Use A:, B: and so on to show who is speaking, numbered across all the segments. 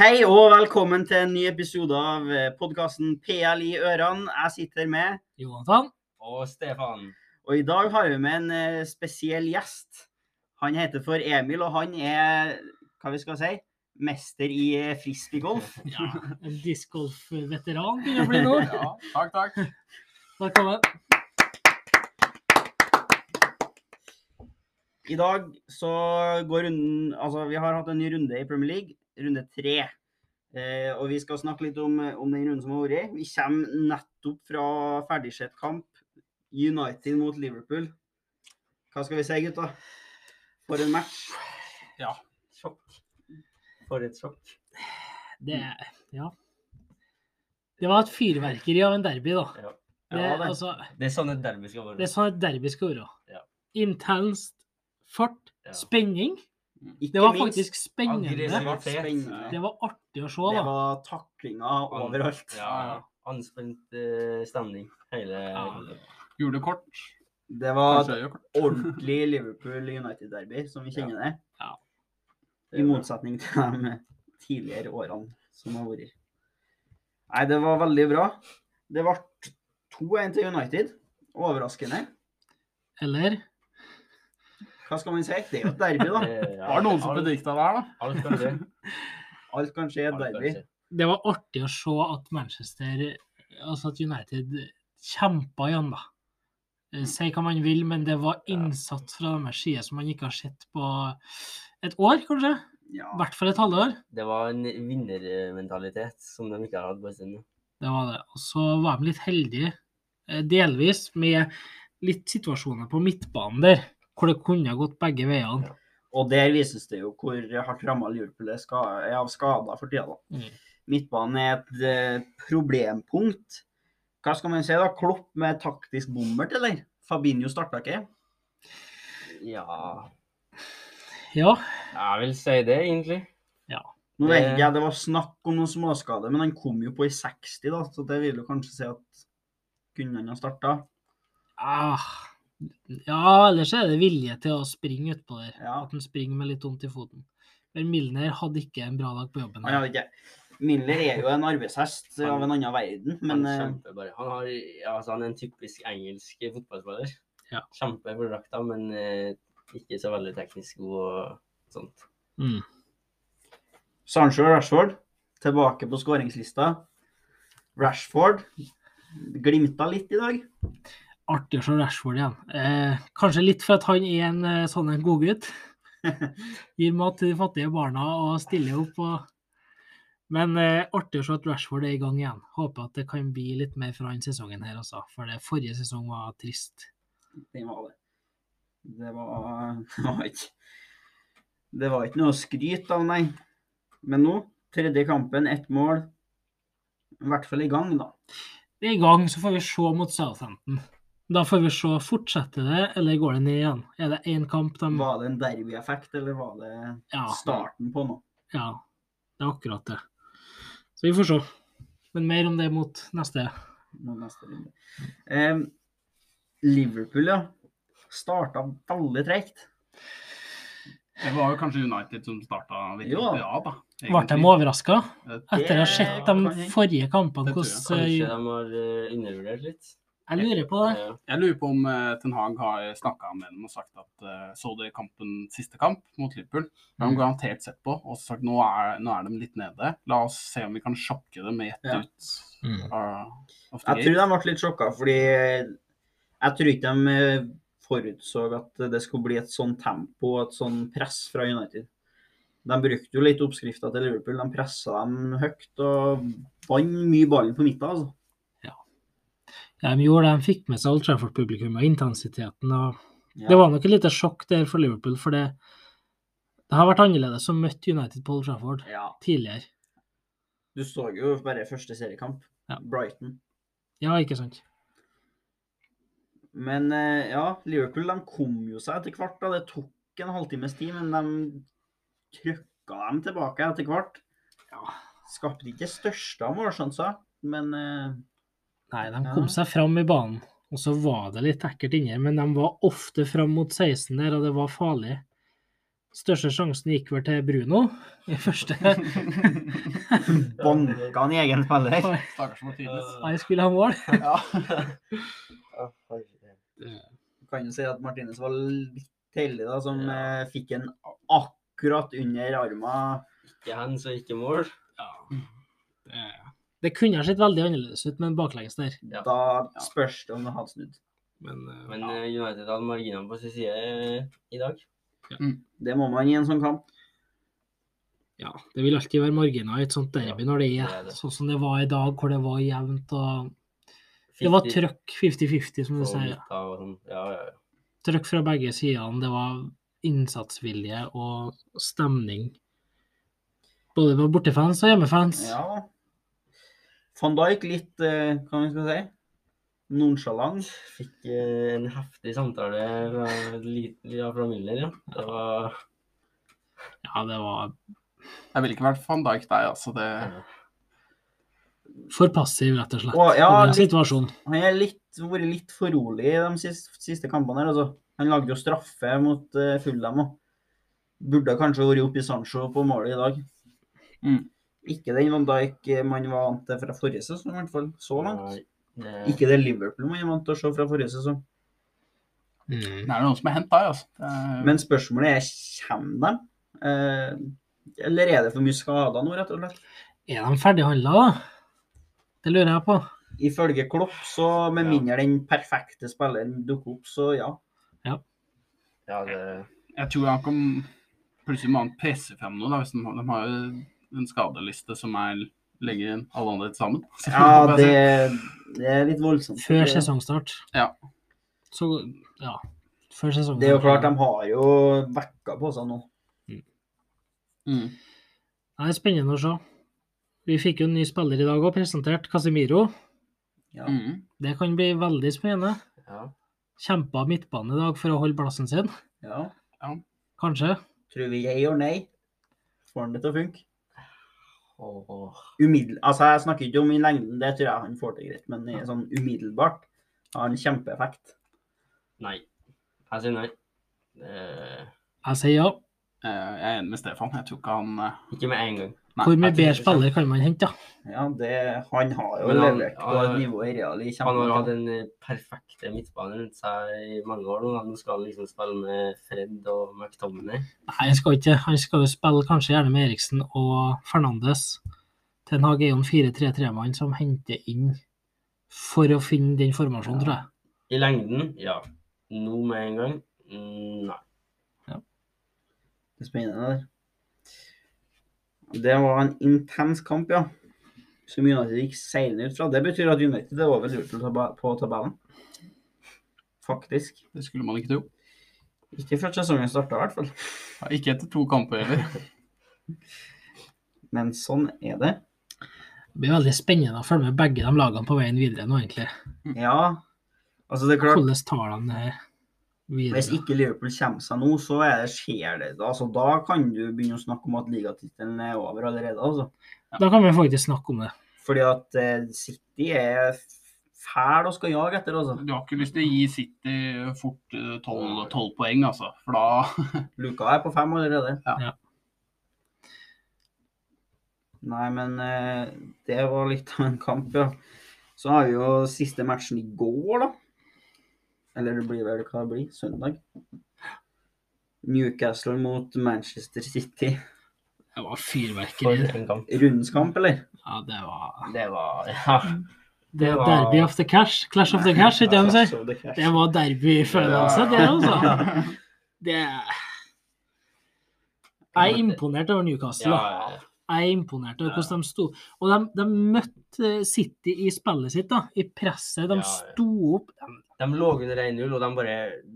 A: Hei og velkommen til en ny episode av eh, podkasten PL i ørene. Jeg sitter med,
B: Jonathan.
C: Og Stefan.
A: og i dag har vi med en eh, spesiell gjest. Han heter for Emil, og han er, hva vi skal si, mester i eh, frisbeegolf.
B: Ja, en discgolf-veteran begynner å bli nå.
C: Ja, takk, takk.
B: Velkommen.
A: I dag så går runden Altså, vi har hatt en ny runde i Premier League, runde tre. Eh, og vi skal snakke litt om, om den runden som har vært. Vi kommer nettopp fra ferdigsett kamp. United mot Liverpool. Hva skal vi si, gutta? For en match.
C: Ja, sjokk. For et sjokk.
B: Det, ja. det var et fyrverkeri av en derby, da.
C: Ja.
B: Det,
A: Ja, det.
B: altså,
C: Det er sånn et derby skal
B: det
C: være.
B: er sånn et derby skal være.
C: Ja.
B: Intenst, fart,
C: Ja.
B: spenning.
A: Ikke
B: Det var
A: minst,
B: faktisk spennende.
C: aggressiv.
B: Det
A: spennende.
B: var artig å se,
A: Det
B: da.
A: var taklinger overalt.
C: Ja, ja. anspent eh, stemning hele
B: Ja.
D: Gule kort.
A: Det var
D: Kanskje røde kort.
A: et ordentlig Liverpool United-derby, som vi kjenner det.
B: Ja.
A: I motsetning til de tidligere årene som har vært. Nei, det var veldig bra. Det ble 2-1 til United. Overraskende.
B: Eller?
A: Hva skal man si? Det er jo et derby, da.
D: Det var noen som bedikta det her, da.
C: Alt kan skje.
A: Alt kan skje i et
C: Alt kan
A: derby.
C: skje.
B: Det var artig å se at Manchester, altså at United kjempa igjen, da. Eh, Si hva man vil, men det var
C: Ja.
B: innsatt fra deres side som man ikke har sett på et år, kanskje.
A: Ja.
B: I hvert fall et halvår.
C: Det var en vinnermentalitet som de ikke har hatt på en stund.
B: Det var det. Og så var de litt heldige, eh, delvis, med litt situasjoner på midtbanen der, hvor det kunne ha gått begge veiene.
A: Og der vises det jo hvor hardt ramma Liverpool er, ska er av skader for tida. da.
B: Mm.
A: Midtbanen er et eh, problempunkt. Hva skal man si, da? Klopp med taktisk bommert, eller? Fabinho starta ikke.
C: Ja
B: Ja.
C: Jeg vil si det, egentlig.
A: Nå vet
C: Det-
A: ikke jeg, Det var snakk om noen småskader, men han kom jo på i 60, da, så det vil jo kanskje si at kunne han ha starta?
B: Ah. Ja, ellers er det vilje til å springe utpå der.
A: Ja.
B: At han springer med litt vondt i foten. Men Milner hadde ikke en bra dag på jobben.
A: Han hadde ikke Miller er jo en arbeidshest av en annen verden, men
C: han
A: eh,
C: kjemper bare. Han, har, ja, altså, han er en typisk engelsk fotballspiller.
B: Ja.
C: Kjemper for drakta, men eh, ikke så veldig teknisk god og sånt.
B: Mm.
A: Sancho og Rashford tilbake på skåringslista. Rashford glimta litt i dag.
B: Artig å se Rashford igjen. Eh, kanskje litt for at han er en eh, sånn en godgutt. Gir mat til de fattige barna og stiller opp. Og... Men eh, artig å se at Rashford er i gang igjen. Håper at det kan bli litt mer fra den sesongen her, altså. For det forrige sesong var trist.
A: Det var det. Det var, det var ikke Det var ikke noe å skryte av, nei. Men nå, tredje kampen, ett mål. I hvert fall i gang, da.
B: Det er i gang, så får vi se mot Southampton. Da får vi se, fortsetter det, eller går det ned igjen? Er det én kamp de
A: Var det en derbyeffekt, eller var det
B: Ja.
A: starten på noe?
B: ja. Det er akkurat det. Så vi får se. Men mer om det mot neste.
A: Nå neste runde. Eh, Liverpool, ja. Starta veldig tregt.
D: Det var jo kanskje United som starta litt
A: Jo.
D: ja, da.
B: Ble de overraska?
D: Det-
B: Etter å ha sett de forrige kampene,
D: Det tror
B: hvordan
C: Kanskje
B: Jeg
C: de har eh, undervurdert litt.
B: lurer på det.
C: Ja.
D: Jeg lurer på om eh, Ten Hag har snakka med dem og sagt at eh, så dere kampen siste kamp mot Liverpool? Det har
A: Mm.
D: de garantert sett på og sagt nå er, nå er de litt nede. La oss se om vi kan sjokke dem med ett
A: Ja.
D: ut. av- of the
A: Jeg tror de ble litt sjokka, fordi jeg tror ikke de eh, forutså at det skulle bli et sånn tempo og et sånn press fra United. De brukte jo litt oppskrifta til Liverpool. De pressa dem høyt og vant mye ballen på midten. altså.
B: De gjorde det. De fikk med seg Old Trafford-publikummet og intensiteten. og
A: Ja.
B: Det var nok et lite sjokk der for Liverpool, for det, det har vært annerledes å møte United på Old Trafford
A: ja.
B: tidligere.
A: Du så jo bare første seriekamp,
B: Ja.
A: Brighton.
B: Ja, ikke sant?
A: Men eh, ja, Liverpool de kom jo seg etter hvert. da. Det tok en halvtimes tid, men de trykka dem tilbake etter hvert.
B: Ja.
A: Skapte ikke største av målsjanser, men eh,
B: Nei, de
A: Ja.
B: kom seg fram i banen. Og så var det litt ekkelt inni, men de var ofte fram mot 16 der, og det var farlig. Største sjansen gikk vel til Bruno i første.
A: Banka han i egen spiller.
D: Stakkars Martinez.
C: Eh,
B: Han skulle ha mål.
D: Ja.
C: Å, herregud.
A: Du kan jo si at Martinez var litt heldig, da, som
C: Ja.
A: eh, fikk en akkurat under arma.
C: Ikke hen, så ikke mål.
D: Det,
B: Det kunne ha sett veldig annerledes ut med en baklengs der.
C: Ja.
A: Da spørs det om det hadde snudd.
B: Men, eh,
C: Men eh, United hadde marginene på sin side eh, i dag.
A: Det må man i en sånn kamp.
B: ja, det vil alltid være marginer i et sånt derby når det
C: Ja, det er
B: er
C: det.
B: sånn som det var i dag, hvor det var jevnt og Det var
C: 50
B: trøkk 50-50, som
C: på
B: du sier.
C: midten og sånn. Ja, ja, ja.
B: Trøkk fra begge sidene. Det var innsatsvilje og stemning. Både med bortefans og hjemmefans.
A: Ja. Van Dijk litt, eh, hva man skal si, nonchalant.
C: Fikk eh, en heftig samtale fra, liten- ja, fra Müller, ja. Det var
B: Ja, det var
D: jeg ville ikke vært van Dijk der, altså. Det,
B: for passiv, rett og slett.
A: Å, ja,
B: i den
A: litt-
B: situasjonen.
A: Han har vært litt for rolig i de siste, siste kampene. her, altså. Han lagde jo straffe mot uh, Fulham og burde kanskje vært oppe i Sancho på målet i dag.
D: Mm.
A: Ikke den Van Dijk eh, man var vant til fra forrige sesong, i hvert fall så langt.
C: Nei, det-
A: Ikke det Liverpool man er vant til å se fra forrige sesong.
B: Mm.
D: det er noen som har hentet deg, altså. Det er,
A: Men spørsmålet er kommer de? Eh, eller er det for mye skader nå, rett og slett?
B: Er de ferdighandla, da? Det lurer jeg på.
A: Ifølge Klopp, så med
C: Ja.
A: mindre den perfekte spilleren dukker opp, så ja.
C: ja, det,
D: jeg tror han kan plutselig må han presse frem noe, da, hvis de, de har jo en skadeliste som er lenger enn alle andre til sammen. Så
A: Ja,
D: bare
A: det,
D: se.
A: det er litt voldsomt.
B: Før
A: Det-
B: sesongstart.
D: Ja.
B: Så ja. Før sesongen.
A: Det er jo klart, de har jo vekka på seg nå.
D: Mm.
B: Det er spennende å se. Vi fikk jo en ny spiller i dag òg, presentert Casemiro.
A: Ja.
D: Mm.
B: Det kan bli veldig spennende.
C: ja.
B: Kjempa midtbane i dag for å holde plassen sin,
A: ja.
B: kanskje.
A: Tror vi ja eller nei? Får han det til å funke?
C: Åh, åh.
A: Umiddel... Altså, jeg snakker ikke om i lengden, det tror jeg han får til greit, men i sånn umiddelbart har han kjempeeffekt.
C: Nei. Jeg sier nei. Det-
B: Jeg sier ja.
D: Eh, Jeg er enig med Stefan. Jeg tror ikke han eh,
C: Ikke med en gang.
D: nei,
B: Hvor mye
D: jeg tror
B: bedre
D: ikke han-
B: spiller kan man hente, da?
A: Ja, det, han har jo
C: Men han-
A: levert på
C: han-
A: et nivå i real i
C: Han har
A: kjempe...
C: hatt den eh, perfekte midtbanen rundt seg i mange år nå. Han skal liksom spille med Fred og McTominay.
B: Nei, han skal ikke. Han skal jo spille kanskje gjerne med Eriksen og Fernandes. Ten Hag er jo en 4-3-3-mann som henter inn for å finne den formasjonen, tror jeg.
C: I lengden, ja. Nå med en gang, mm, nei.
A: Det er spennende der. Det var en intens kamp, ja. Som United gikk seilende ut fra. Det betyr at United er over Liverpool tab- på tabellen. Faktisk.
D: Det skulle man ikke tro.
A: Ikke før sesongen starta, i hvert fall.
D: Ja, Ikke etter to kamper heller.
A: Men sånn er det.
B: Det blir veldig spennende å følge med begge de lagene på veien videre nå, egentlig.
A: Ja. Altså, det er klart.
B: Hvordan tar de det her
A: Hvis
B: videre?
A: ikke Liverpool kommer seg nå, så er det, skjer det. Altså, da kan du begynne å snakke om at ligatittelen er over allerede. Altså.
B: Da kan vi faktisk snakke om det.
A: Fordi at eh, City er fæl og skal jage etter. Altså.
D: Du har ikke lyst til å gi City fort eh, tolv tolv poeng, altså. For da
A: Luka er på fem allerede.
D: Ja.
B: Ja.
A: Nei, men eh, det var litt av en kamp, ja. Så har vi jo siste matchen i går, da. Eller det blir vel hva det blir, søndag. Newcastle mot Manchester City.
B: Det var
C: For
B: fyrverkeri.
C: en kamp.
A: Rundens kamp, eller?
B: Ja, det var
C: Det var Ja.
B: Det
C: Det
B: var
C: var-
B: derby of the cash. Clash of the cash, ikke det de sier? Det var derbyfølelse, det altså. Det Jeg er imponert over Newcastle.
C: ja,
B: da.
C: ja.
B: Jeg er imponert over hvordan de sto. Og de, de møtte City i spillet sitt, da. I presset. De
C: Ja, ja.
B: sto opp.
C: De lå under 1-0, og de bare,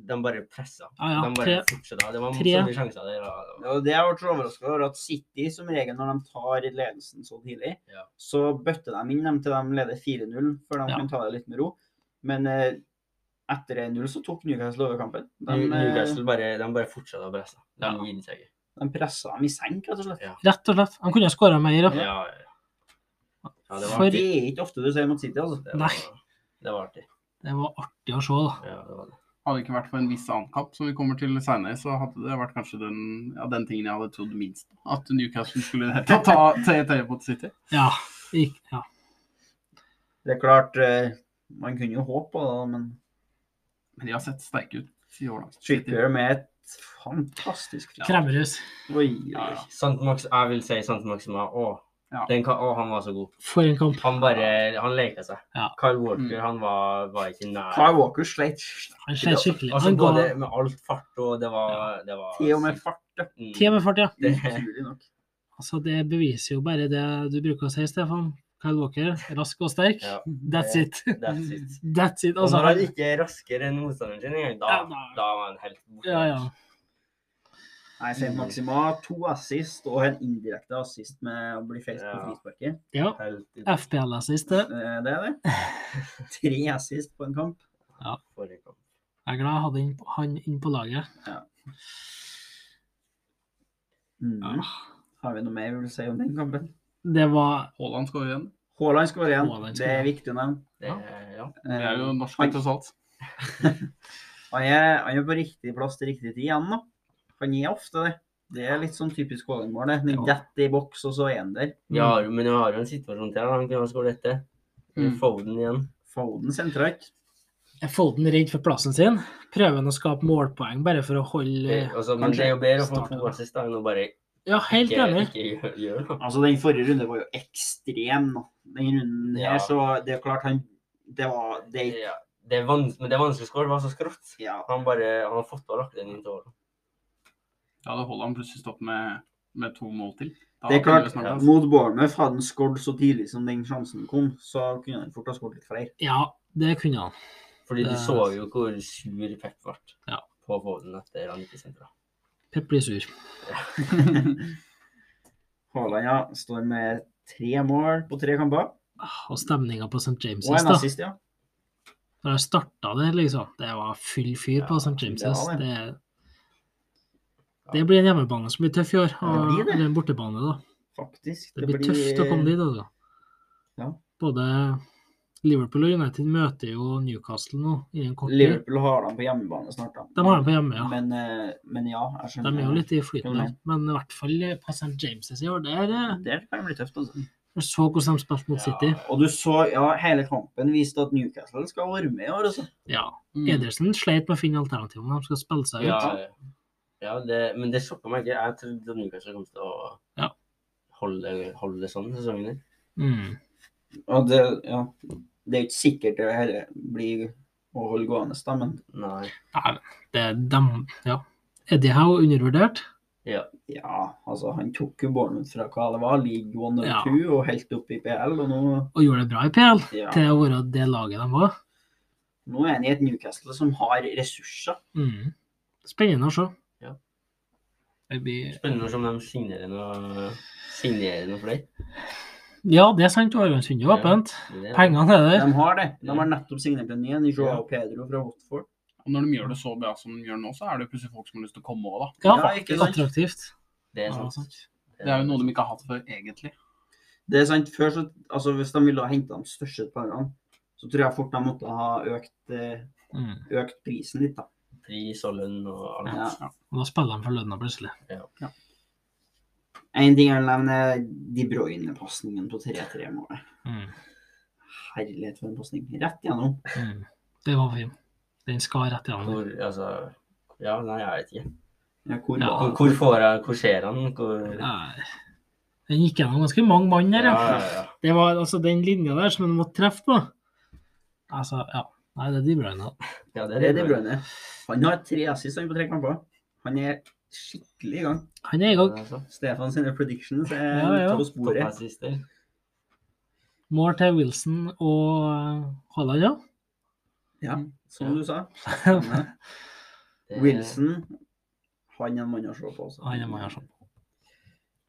C: de bare pressa.
B: Ja, ja,
C: de bare
B: tre-
C: fortsatte. Det var
B: tre.
C: så mye sjanser der. og-
A: Ja, og det jeg ble så overraska over, at City som regel når de tar ledelsen så tidlig,
C: Ja.
A: så bøtter de inn dem til de leder 4-0, før de
B: Ja.
A: kan ta det litt med ro. Men eh, etter 1-0 så tok Newcastle over kampen. De,
C: New-
A: eh,
C: Newcastle bare, de bare fortsatte å presse. De
B: Ja.
C: gir seg ikke.
A: de pressa dem i senk, rett og slett.
C: Ja.
B: Rett og slett. De kunne ha skåra mer. da.
C: Ja, ja. ja, det var
B: For-
C: artig.
A: Det er ikke ofte du ser mot City, altså.
C: Det var,
B: Nei.
C: det var artig.
B: Det var artig å se, da.
C: Ja, det var det.
D: Hadde det ikke vært for en viss annen kamp som vi kommer til senere, så hadde det vært kanskje den, ja, den tingen jeg hadde trodd minst. At Newcastle skulle ta ta TT mot City.
B: Ja. Ikke, ja.
A: Det er klart, eh, man kunne jo håpe på det, men
D: Men de har sett sterke ut i år, da. City.
A: Trippier med et fantastisk frispark.
B: Kremmerhus.
A: Oi, oi, oi.
D: Ja,
C: Sant Max, jeg vil si Sant Maxima. Å,
D: Ja.
C: den kan, å, han var så god.
B: For en kamp.
C: Han bare Han leka seg.
B: Ja.
C: Kyle Walker
D: Mm.
C: han var, var ikke nær.
A: Kyle Walker sleit
B: Han ser skikkelig
C: Altså,
B: Han går
C: både med alt fart og Det var, det var
A: til og med fart. ja.
C: Mm.
B: 10 med fart, ja.
C: Det-
A: Utrolig nok.
B: Altså, det beviser jo bare det du bruker å si, Stefan. Kyle Walker, rask og sterk.
C: Ja.
B: That's it.
C: That's it.
B: That's it.
C: Og
B: Altså,
C: når han
B: han,
C: ikke er raskere enn motstanderen sin engang, da,
B: Ja, da-
C: da var han helt borte.
B: ja, ja.
A: Nei, Saint Maxima to assist og en indirekte assist med å bli felt på
C: Ja.
A: frisparket.
B: ja.
C: Helt ut
B: FPL-assist, det.
A: Eh, Det er det. Tre assist på en kamp.
C: forrige kamp.
B: Jeg er glad jeg hadde inn- han inn på laget.
A: Mhm. Har vi noe mer vi vil si om den kampen?
B: Ah, Det var
D: Haaland skårer igjen.
A: Haaland skårer igjen.
B: Haaland
A: Det er
B: skårer.
A: viktig å nevne.
C: Det, ja.
D: Vi er jo
A: Eh,
D: norske, tross alt.
A: Han er, han er på riktig plass til riktig tid igjen, da. Han er ofte det. Det er litt sånn typisk Haaland-mål. det. Den
B: Ja.
A: detter i boks, og så er han der.
B: Mm.
C: Vi har jo- men vi har jo en situasjon til. da. Han kunne ha skåret dette.
D: Mm.
C: Foden igjen.
A: Foden sentralt.
B: Er Folden redd for plassen sin? Prøver han å skape målpoeng bare for å holde
C: Eh, Altså, men det er jo bedre å få
B: Starter.
C: to assist da, enn å bare
B: Ja, helt
C: ikke,
B: enig.
C: ikke gjø- gjøre noe.
A: Altså, den forrige runden var jo ekstrem, da. Den runden her,
C: Ja.
A: så det er klart han Det var det, er ikke-
C: Ja. Det er vans men det er vanskelig å skåre. Det var så skrått.
A: Ja.
C: Han bare, han har fått av lagt den inn til året.
D: Da hadde Haaland plutselig stått med, med to mål til. Da
A: Det er
D: kunne vi
A: klart,
D: snakket.
A: mot Bournemouth hadde han skåret så tidlig som den sjansen kom, så kunne han fort ha skåret litt flere.
B: Ja, det kunne han.
C: Fordi du
B: Det-
C: så jo hvor sur Pep ble
B: Ja.
C: på Foden etter han ikke sentra.
B: Pep blir sur.
A: Haaland ja, står med tre mål på tre kamper.
B: Ah, Og stemninga på St.
A: Og
B: James'
A: en
B: da.
A: assist, ja.
B: Når jeg starta det, liksom. Det var full fyr på
C: Ja,
B: St. James's.
A: det var det.
B: Det, det blir en hjemmebane som blir tøff i år.
A: Ja, det
B: Og,
A: blir det.
B: Eller en bortebane, da.
A: Faktisk.
B: Det, blir tøft å komme dit. Altså.
A: Ja.
B: Både Liverpool og United møter jo Newcastle nå i en kort tid.
A: Liverpool har dem på hjemmebane snart, da.
B: De har dem på hjemme, ja.
A: Men, eh, men ja, jeg
B: De
A: skjønner.
B: er jo litt i flyten,
A: Ja.
B: der. men i hvert fall eh, på St. James's i år. Det er eh,
A: Det kan bli tøft, altså.
B: Jeg så hvordan de spilte mot City.
A: Og du så, ja, hele kampen viste at Newcastle skal være med i år, altså.
B: Ja.
D: Mm.
B: Edersen sleit med å finne alternativene. De skal spille seg ut.
C: Ja, ja det, men det sjokka meg ikke. Jeg trodde Newcastle kom til å
B: Ja.
C: holde, holde det sånn sesongen. her.
B: Mm.
A: Og det, ja, det er ikke sikkert det hele blir å holde gående, da, men
C: Nei.
B: Nei, det er dem, ja. Eddie Howe undervurdert.
C: Ja.
A: ja, altså, han tok jo Bournemouth fra hva det var, League One og
B: Ja.
A: Two, og helt opp i PL, og nå,
B: Og gjorde det bra i PL,
A: ja,
B: til å være det laget de var.
A: nå er han i et Newcastle som har ressurser.
B: Mm. Spennende å se.
C: Ja.
B: Det blir...
C: Spennende å se om de signerer noe, signerer noe flere.
B: Ja, det er sant. Årgangsvinduet er åpent.
C: Det-
B: Pengene er der.
A: De har det. De har nettopp signert en ny en, Joao Pedro fra Watford.
D: Og når de gjør det så bra som de gjør nå, så er det jo plutselig folk som har lyst til å komme òg, da.
B: Ja,
A: Ja, ikke sant?
B: attraktivt.
C: Det er
B: Ja,
C: sant.
B: sant.
D: Det er jo noe de ikke har hatt før, egentlig.
A: Det er sant. Før, så, altså, hvis de ville ha henta de største pengene, så tror jeg fort de måtte ha økt, eh,
B: Mm.
A: økt prisen litt, da.
C: Pris og lønn og alt.
A: Ja.
B: Og da spiller de for lønna plutselig.
A: En ting jeg vil nevne, er De Bruyne-pasningen på 3-3-målet.
B: Mm.
A: Herlighet for en pasning. Rett gjennom.
B: Mm. Det var fint. Den skal rett igjen.
C: Hvor, altså, ja, nei, jeg vet ikke.
A: Ja, hvor
B: Ja.
A: var
C: Hvor,
A: han?
C: hvor får jeg, hvor ser han? Hvor...
B: Nei. Den gikk gjennom ganske mange mann der, ja.
C: ja, ja.
B: Det var altså den linja der som en måtte treffe på. Altså, ja. Nei, det er de brøyna.
C: Ja, det
A: Det er De Bruyne. Han har tre assist han på tre kamper. Han er skikkelig i gang.
B: Han er i gang.
C: Altså,
A: Stefan sine predictions er
B: Ja, ja.
A: ute på sporet.
C: toppassister.
B: Mål til Wilson og eh, Haaland, ja.
A: Ja, som du sa.
B: Han
C: Det-
A: Wilson, han er en mann å se på. Også.
B: er mange sånn.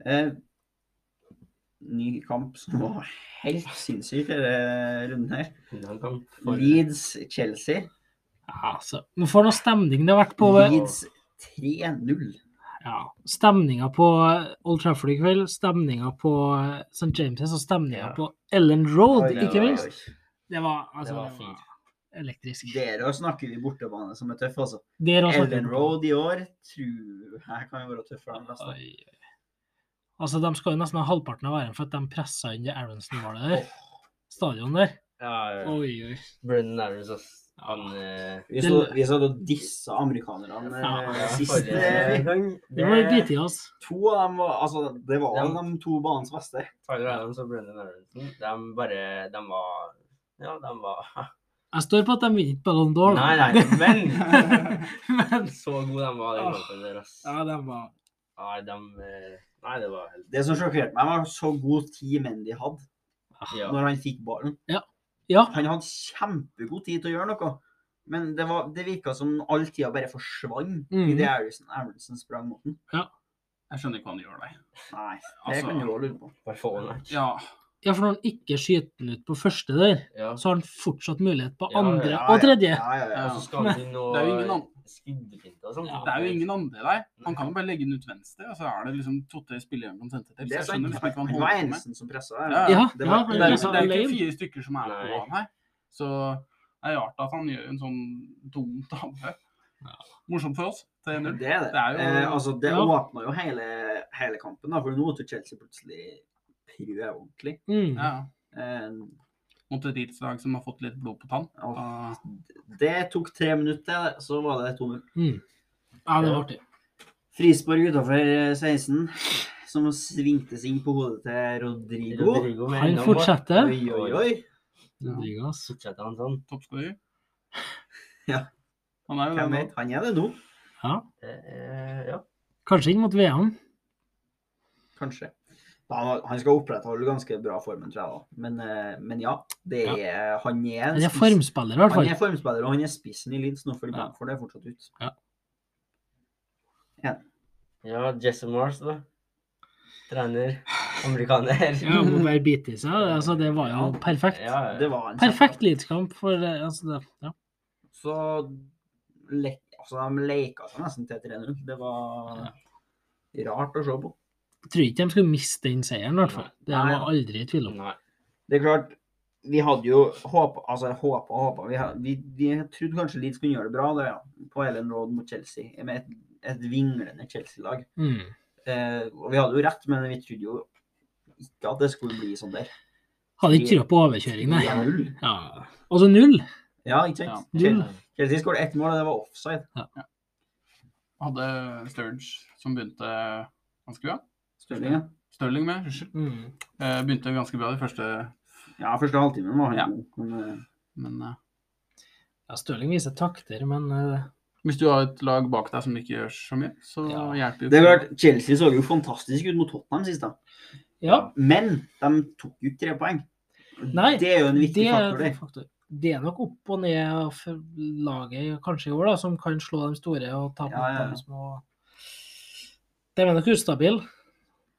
A: Eh, ny kamp som var helt sinnssyk denne runden her.
C: Han kan få-
A: Leeds-Chelsea.
B: Ja, altså. Men for noe stemning det har vært på
A: Leeds 3-0.
B: ja, Stemninga på eh, Old Trafford i kveld, stemninga på eh, St. James' og stemninga
C: Ja.
B: på Ellen Road,
A: Oi, det
B: ikke
A: var-
B: minst. Det var, altså,
C: Det var
B: det var
C: fint.
B: elektrisk.
A: Der også snakker vi bortebane som er tøff, altså.
B: Der også snakker vi
A: Ellen
B: om-
A: Road i år tror jeg kan jo være tøffere enn de neste.
B: Oi, oi. Altså, de skal jo nesten ha halvparten av æren for at de pressa inn det Aronsen-målet der. Stadion der.
C: Ja, ja.
B: Oi, oi.
C: Brennan Arrows, ass. Han eh,
A: Vi så, vi satt og dissa amerikanerne
B: Ja,
A: eh, sist.
C: forrige
A: eh,
C: gang
B: Vi må
C: det-
B: bite i oss.
A: To av dem var Altså, det var
C: Ja.
A: de to banens beste.
C: Tyler Adams og Brennan Aronson, de bare De var Ja, de var
B: Jeg står på at de vinner ikke Ballon d'Or. da.
C: Nei, nei, men
B: Men
C: så gode de var, den kampen der, ass.
B: Ja, de var
C: Nei, de eh, Nei, det var helt
A: Det som sjokkerte meg, var så god tid Mendy hadde
C: Ja.
A: når han fikk ballen.
B: Ja,
A: Han hadde kjempegod tid til å gjøre noe. Men det, var, det virka som all tida bare forsvant i
B: Mhm.
A: det Aronsen, Aronsen sprang mot den.
D: Jeg skjønner ikke hva han gjør der.
A: Nei, det
D: Altså-
A: kan du også lure på.
C: Bare få den vekk.
D: Ja,
B: ja, for når han ikke skyter den ut på første der,
C: Ja.
B: så har han fortsatt mulighet på
C: Ja, ja,
B: andre
A: Ja,
B: og tredje.
A: Ja, ja, ja.
C: Og så skal han begynne å
D: Det er jo ingen an-
C: skuddfinte og sånn.
B: Ja,
D: det er jo ingen andre der. Han kan jo bare legge den ut venstre, og så er det liksom to-tre spillere han kan sende til.
A: Det
D: Så
A: er
D: jeg skjønner
A: sant.
D: liksom ikke hva han
A: Det var
D: holder på med.
A: Enesen som pressa der.
D: Ja,
B: ja,
A: det var,
B: ja,
D: Det er, liksom-
B: Altså,
D: det er jo
B: alene.
D: ikke fire stykker som er på
C: Nei.
D: banen her. Så det er rart at han gjør en sånn dum tabbe. Morsomt for oss. 3-0.
A: Det er det.
D: Det er jo-
A: eh, altså, det
B: Ja.
A: åpna jo hele, hele kampen, da, for nå måtte Chelsea plutselig prøve ordentlig.
B: Mm.
D: Ja.
A: Eh,
D: Mot et idrettslag som har fått litt blod på tann.
A: og
D: Ah,
A: det tok tre minutter, så var det 2-0.
B: Mm. ja, det var artig.
A: Frispark utafor 16, som svingtes inn på hodet til Rodrigo.
C: Rodrigo med
B: Han
C: enda mål.
B: fortsetter.
A: Oi, oi, oi.
B: Rodrigo, ass.
C: Fortsetter han sånn?
D: Toppskårer.
A: Ja.
D: Han er jo
A: Hvem
D: det
A: vet? Han er det nå,
B: Ja.
C: Det er, ja.
B: Kanskje inn mot VM.
A: kanskje. Han, han skal opprettholde ganske bra formen, tror jeg. da. Men, eh, men ja, det er, han er en
B: Han er
A: spiss.
B: formspiller, i
A: Han
B: hvert fall.
A: er formspiller, og han er spissen i Leeds nå, for
B: Ja.
A: Bamford er fortsatt ut.
C: ja, Jesse Mars, da. Trener. Amerikaner.
B: Ja, må bare bite i seg. Altså, det var jo perfekt.
C: Ja, ja.
A: Det var en
B: Perfekt Leeds-kamp for eh, altså, det, ja.
A: kjempe- Så le, altså, de leka seg nesten til 3-0. Det var rart å se på.
B: Jeg tror ikke de skulle miste den seieren, i hvert fall. Det var
A: Nei.
B: jeg aldri i tvil om.
C: Nei.
A: Det er klart, vi hadde jo håpa altså, håpa og håpa. Vi, ha- vi, vi trodde kanskje Leeds kunne gjøre det bra da, ja. på Ellen Road mot Chelsea, med et, et vinglende Chelsea-lag.
B: Mm.
A: Eh, og vi hadde jo rett, men vi trodde jo ikke at det skulle bli sånn der.
B: Hadde ikke trua på overkjøring, nei.
A: 3-0.
B: Ja. Altså null.
A: Ja, ikke sant?
B: Ja.
A: Chelsea- Chelsea skåret ett mål, og det var offside.
D: Hadde Sturge, som begynte ganske bra.
A: Stirling, ja.
D: Stirling med, unnskyld.
B: Mm.
D: Eh, Begynte ganske bra de første,
A: Ja, første halvtimen var han
D: Ja.
A: god. men, eh,
D: men eh,
B: Ja, Stirling viser takter, men eh,
D: Hvis du har et lag bak deg som ikke gjør så mye, så
B: Ja.
D: hjelper jo
A: Det er
D: ikke.
A: klart, Chelsea så jo fantastisk ut mot Tottenham sist, da.
B: ja.
A: Men de tok jo ikke tre poeng.
B: Nei,
A: det er jo en viktig
B: det er
A: faktor der.
B: en faktor. Det er nok opp og ned for laget kanskje i år, da, som kan slå de store og ta på
A: Ja, ja, ja.
B: de små. De er nok ustabile.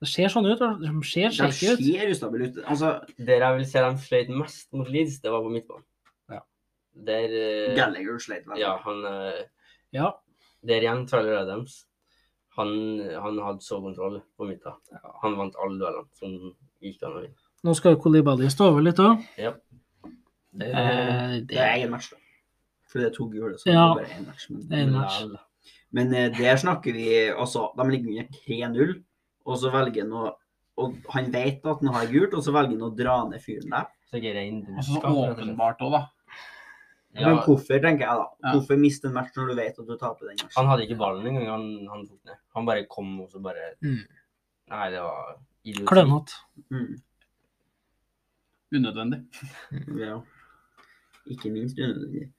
B: Det ser sånn ut. De ser
A: De
B: shaky ut.
A: ser ustabile ut. Altså,
C: Der jeg vil se dem sløyt mest mot Leeds, det var på midtbanen.
B: Ja.
C: Der eh,
A: Gallagher sleit veldig.
C: Ja, han eh,
B: Ja.
C: Der igjen Tyler Adams. Han, han hadde så kontroll på midten. Han vant alle duellene som gikk an å vinne.
B: Nå skal Kolibali stå over litt òg.
C: Det er-
B: Eh,
A: Det er egen match, da. For det er to gule, så
B: Ja.
A: det er bare én match. Men,
B: det er en match.
C: Lell.
A: men eh, der snakker vi Altså, de ligger under 3-0, og så velger han å og Han vet at han har gult, og så velger han å dra ned fyren der.
C: Så ikke rein
D: Og så
C: dumskap, rett og slett.
D: åpenbart òg, da.
A: Men
C: Ja,
A: hvorfor, tenker jeg da.
D: Ja.
A: Hvorfor miste en match når du vet at du taper den matchen?
C: han hadde ikke ballen engang. Han, han tok ned. Han bare kom og så bare
B: Mm.
C: Nei, det var idioti.
B: Klønete.
A: Mm,
D: Unødvendig.
A: ja. Ikke minst unødvendig.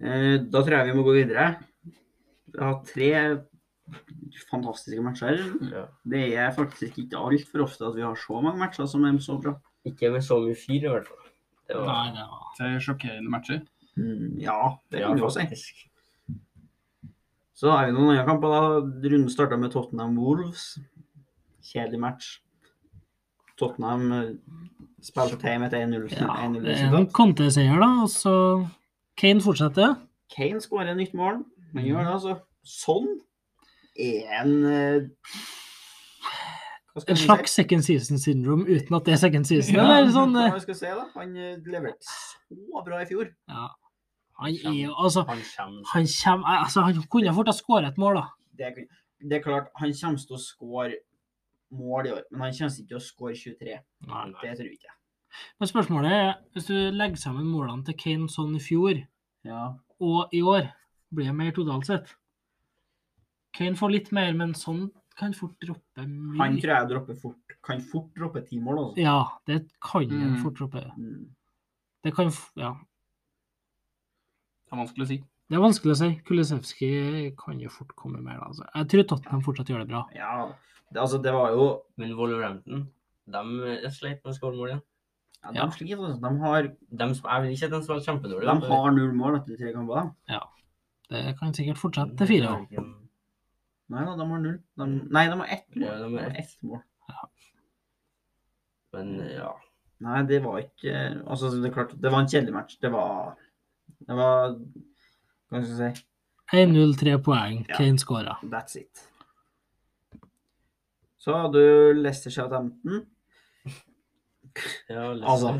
A: Eh, da tror jeg vi må gå videre. Vi har tre fantastiske matcher.
C: Ja.
A: Det er faktisk ikke altfor ofte at vi har så mange matcher som er så bra.
C: Ikke med så mye fyr, i hvert fall. Det var
B: Nei, det var
D: Tre sjokkerende matcher.
A: Mm, ja, det
C: Ja,
A: kan du også si.
C: faktisk.
A: Så har vi noen andre kamper. da. Runden starta med Tottenham Wolves. Kjedelig match. Tottenham eh, spilte hjem et 1-0
B: ja, det er en
A: resultat.
B: Conte-seier, da. Og så Kane fortsetter.
A: Kane skårer nytt mål.
B: Mhm.
A: Han gjør det, altså. Sånn er en eh, Hva skal
B: En
A: vi si?
B: slags second season syndrome uten at det er second season.
D: Ja.
B: Eller sånn,
A: Hva
B: eh,
A: skal vi si, da? Han eh, leverte så bra i fjor.
B: ja. Han er jo altså,
C: Han kommer.
B: han, kjem, altså, han kunne fort ha skåret et mål, da.
A: Det er, det er klart, han kommer til å skåre mål i år, men han kommer ikke til å skåre 23.
B: Nei.
A: Det tror jeg ikke.
B: Men spørsmålet er, hvis du legger sammen målene til Kane sånn i fjor
A: Ja.
B: og i år, blir det mer totalt sett? Kane får litt mer, men sånn kan fort droppe mye.
A: Han tror jeg dropper fort. Kan fort droppe ti mål, altså.
B: Ja, det kan han
D: Mm.
B: fort droppe.
A: Mm.
B: Det kan f- Ja.
D: Det er vanskelig å si.
B: Det er vanskelig å si. Kulisevskij kan jo fort komme mer, da. Altså. Jeg tror Tottenham fortsatt gjør det bra.
A: Ja, det, altså, det var jo
C: Men Wolverhampton, de er sleit med å skåre mål igjen.
A: ja,
B: Ja.
A: De sliter, altså. De har,
C: De, sp- jeg vil ikke at de spiller kjempedårlig.
A: de har null mål etter tre kamper. da.
B: Det kan sikkert fortsette til fire år.
A: Nei da, de har null. De, nei, de har ett mål.
C: Ja, de har ett.
A: ett mål.
C: Men ja.
A: Nei, det var ikke Altså, det er klart, det var en kjedelig match. Det var Det var Hva skal jeg si?
B: 1-0, tre poeng.
A: Ja.
B: Kane skåra.
A: That's it. Så hadde du Leicester Southampton.
C: ja Leicester.
A: Altså,